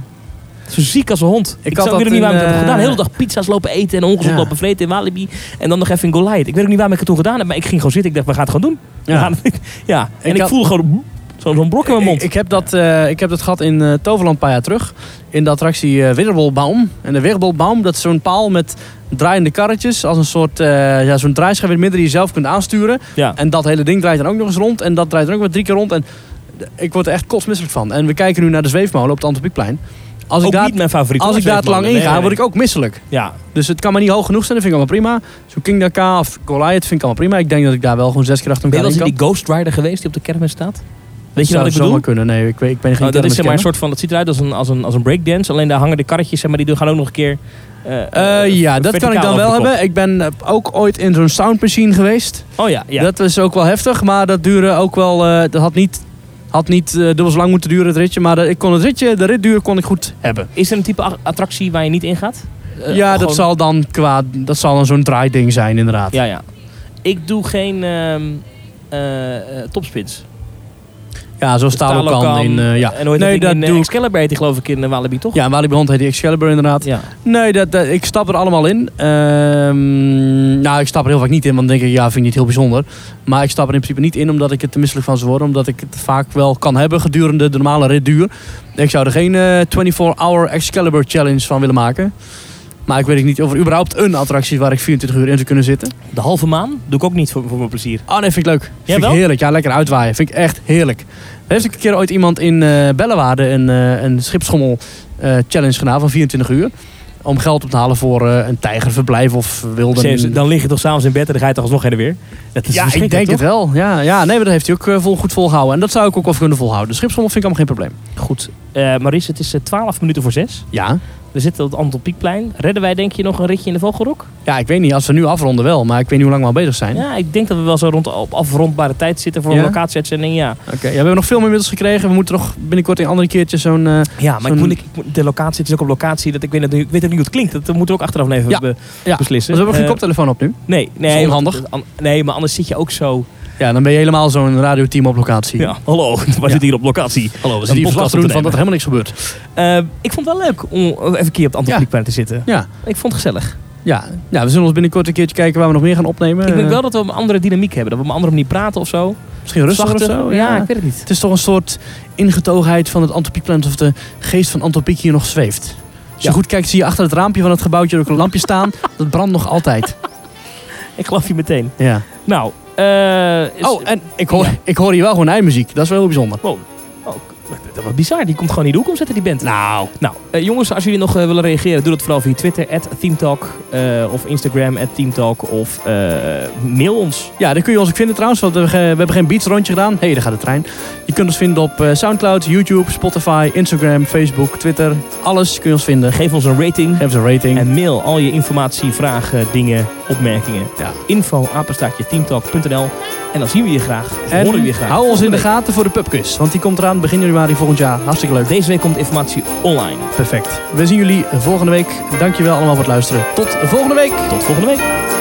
B: Zo ziek als een hond. Ik,
A: had
B: zou
A: dat
B: weer niet
A: in,
B: waarom ik dat
A: eh,
B: heb gedaan. De hele dag pizza's lopen eten en ongezond
A: Ja.
B: lopen vreten in Walibi. En dan nog even in Goliath. Ik weet ook niet waarom ik het toen gedaan heb, maar ik ging gewoon zitten. Ik dacht, we gaan het gewoon doen. We gaan het- ja. *laughs* En
A: Ik
B: ik,
A: had-
B: voelde gewoon zo'n zo'n brok in mijn mond.
A: Ik, ik heb dat, eh, ik heb dat gehad in eh, Toverland een paar jaar terug. In de attractie eh Wirbelbaum. En de Wirbelbaum, dat is zo'n paal met draaiende karretjes. Als een soort eh, ja, zo'n draaischijf in het midden die je zelf kunt aansturen.
B: ja.
A: En dat hele ding draait dan ook nog eens rond. En dat draait dan ook weer drie keer rond. En d- ik word er echt kotsmisselijk van. En we kijken nu naar de zweefmolen op het Antropiekplein. Als ik
B: ook
A: daar,
B: niet mijn favoriet.
A: als ik daar te lang in ga, word ik ook misselijk.
B: Ja,
A: Dus het kan maar niet hoog genoeg zijn. Dat vind ik allemaal prima. Zo'n King Dakar of Goliath vind ik allemaal prima. Ik denk dat ik daar wel gewoon zes keer achter
B: ben je
A: elkaar
B: wel
A: in
B: eens
A: kan.
B: in die Ghost Rider geweest die op de kermis staat? Weet
A: Zou
B: je nou wat ik
A: zomaar
B: bedoel?
A: kunnen. Nee, ik, Oh, weet- ik ben geen
B: Nou, dat is zeg maar
A: kenner.
B: een soort van, dat ziet eruit als een, als een, als een breakdance. Alleen daar hangen de karretjes, zeg maar, die doen- gaan ook nog een keer... eh,
A: Eh,
B: eh,
A: ja, dat kan ik
B: verticaal
A: dan wel
B: over de
A: hebben. Ik ben eh, ook ooit in zo'n soundmachine geweest.
B: kop. Oh ja, ja.
A: Dat was ook wel heftig, maar dat duurde ook wel. eh, dat had niet, had niet eh, dubbel zo lang moeten duren, het ritje. Maar dat- ik kon het ritje, de ritduur kon ik goed hebben.
B: Is er een type a- attractie waar je niet in gaat? Eh,
A: ja, dat
B: gewoon-
A: zal dan qua. Dat zal dan zo'n draaiding zijn, inderdaad.
B: Ja, ja. Ik doe geen ehm eh, eh, topspins.
A: Ja, zo staal ook
B: Talokan
A: kan in. eh, ja.
B: En hoe heet
A: Nee,
B: dat,
A: dat
B: ding in, eh,
A: doe ik.
B: Excalibur heet die geloof ik in eh, Walibi, toch?
A: Ja, Walibi Hond heet die Excalibur, inderdaad.
B: ja.
A: Nee, dat, dat- ik stap er allemaal in. Ehm, nou, ik stap er heel vaak niet in, want dan denk ik, ja, vind ik niet heel bijzonder. Maar ik stap er in principe niet in omdat ik het te misselijk van zou worden. Omdat ik het vaak wel kan hebben gedurende de normale ritduur. Ik zou er geen eh, 24-hour Excalibur Challenge van willen maken. Maar ik weet ook niet of er überhaupt een attractie is waar ik 24 uur in zou kunnen zitten.
B: De halve maan doe ik ook niet voor, voor mijn plezier.
A: Oh nee, vind ik leuk. Vind
B: Ja,
A: ik
B: wel?
A: heerlijk. Ja, lekker uitwaaien. Vind ik echt heerlijk. Er heeft ook een keer ooit iemand in eh Bellewaarde een, eh, een schipschommel eh, challenge gedaan van 24 uur. Om geld op te halen voor eh, een tijgerverblijf of wilde...
B: Serieus, Dan lig je toch s'avonds in bed en dan ga je toch alsnog heen en weer. Dat is
A: ja, ik denk het wel. Ja, ja, nee, maar dat heeft hij ook eh, vol, goed volgehouden. En dat zou ik ook wel kunnen volhouden. De schipschommel vind ik allemaal geen probleem.
B: wel. Goed. Eh Maurice, het is eh, 12 minuten voor 6.
A: Ja.
B: We zitten op het Anton Pieckplein. Redden wij denk je nog een ritje in de Vogelrok?
A: Ja, ik weet niet. Als we nu afronden wel. Maar ik weet niet hoe lang we al bezig zijn.
B: Ja, ik denk dat we wel zo rond op afrondbare tijd zitten voor
A: Ja?
B: een locatieuitzending. Ja,
A: Oké. ja, we hebben nog film inmiddels gekregen. We moeten nog binnenkort een andere keertje zo'n... eh,
B: ja maar ik
A: Zo'n-
B: moet, ik moet- de locatie, het is ook op locatie. Dat, ik, weet, dat, ik weet ook niet hoe het klinkt. Dat moeten we ook achteraf even
A: Ja.
B: be-
A: Ja. Dus we
B: beslissen.
A: hebben geen
B: Eh,
A: koptelefoon op nu.
B: Nee, nee.
A: is onhandig.
B: want- an- Nee, maar anders zit je ook zo.
A: Ja, dan ben je helemaal zo'n radioteam op locatie.
B: Ja, hallo, *laughs* we zitten hier op locatie.
A: Hallo, we
B: zitten hier verslag te doen
A: van
B: van
A: dat
B: dat
A: er helemaal niks gebeurt.
B: Eh, ik vond het wel leuk om even een keer op het Antropiekplein te zitten.
A: Ja.
B: Ik vond het gezellig.
A: Ja, ja, we zullen ons binnenkort een keertje kijken waar we nog meer gaan opnemen.
B: ik denk
A: Eh,
B: wel dat we een andere dynamiek hebben. Dat we op een andere manier praten of zo.
A: Misschien rustiger of
B: Zachter.
A: zo.
B: Ja,
A: Ja.
B: ik weet het niet.
A: Het is toch een soort ingetogenheid van het Antropiekplan... of de geest van Antropiek hier nog zweeft. Als je goed kijkt zie je achter het raampje van het gebouwtje ook een lampje staan. Dat brandt nog altijd.
B: Ik geloof je meteen.
A: Ja.
B: Nou, eh, is-
A: Oh, en ik hoor,
B: Ja.
A: ik hoor hier wel gewoon ei-muziek. Dat is wel heel bijzonder.
B: Wow. Oh, k- dat was bizar. Die komt gewoon in de hoek omzetten, die band.
A: Nou,
B: Nou, eh, jongens, als jullie nog eh, willen reageren, doe dat vooral via Twitter, at Teamtalk. eh, of Instagram, at Teamtalk. Of eh, mail ons.
A: ja, daar kun je ons ook vinden trouwens. Want we, we hebben geen beats rondje gedaan. Hé, hey, daar gaat de trein. Je kunt ons vinden op eh, Soundcloud, YouTube, Spotify, Instagram, Facebook, Twitter. Alles kun je ons vinden.
B: Geef ons een rating.
A: Geef ons een rating.
B: En mail al je informatie, vragen, dingen, opmerkingen.
A: Ja.
B: Info, apenstaartje, teamtalk.nl. En dan zien we je graag. En
A: En
B: horen we je graag.
A: hou ons in
B: volgende
A: de gaten voor de pubquiz. Want die komt eraan begin januari volgend jaar. Hartstikke leuk.
B: week. Deze week komt informatie online.
A: Perfect. We zien jullie volgende week. Dankjewel allemaal voor het luisteren. Tot volgende week.
B: Tot volgende week.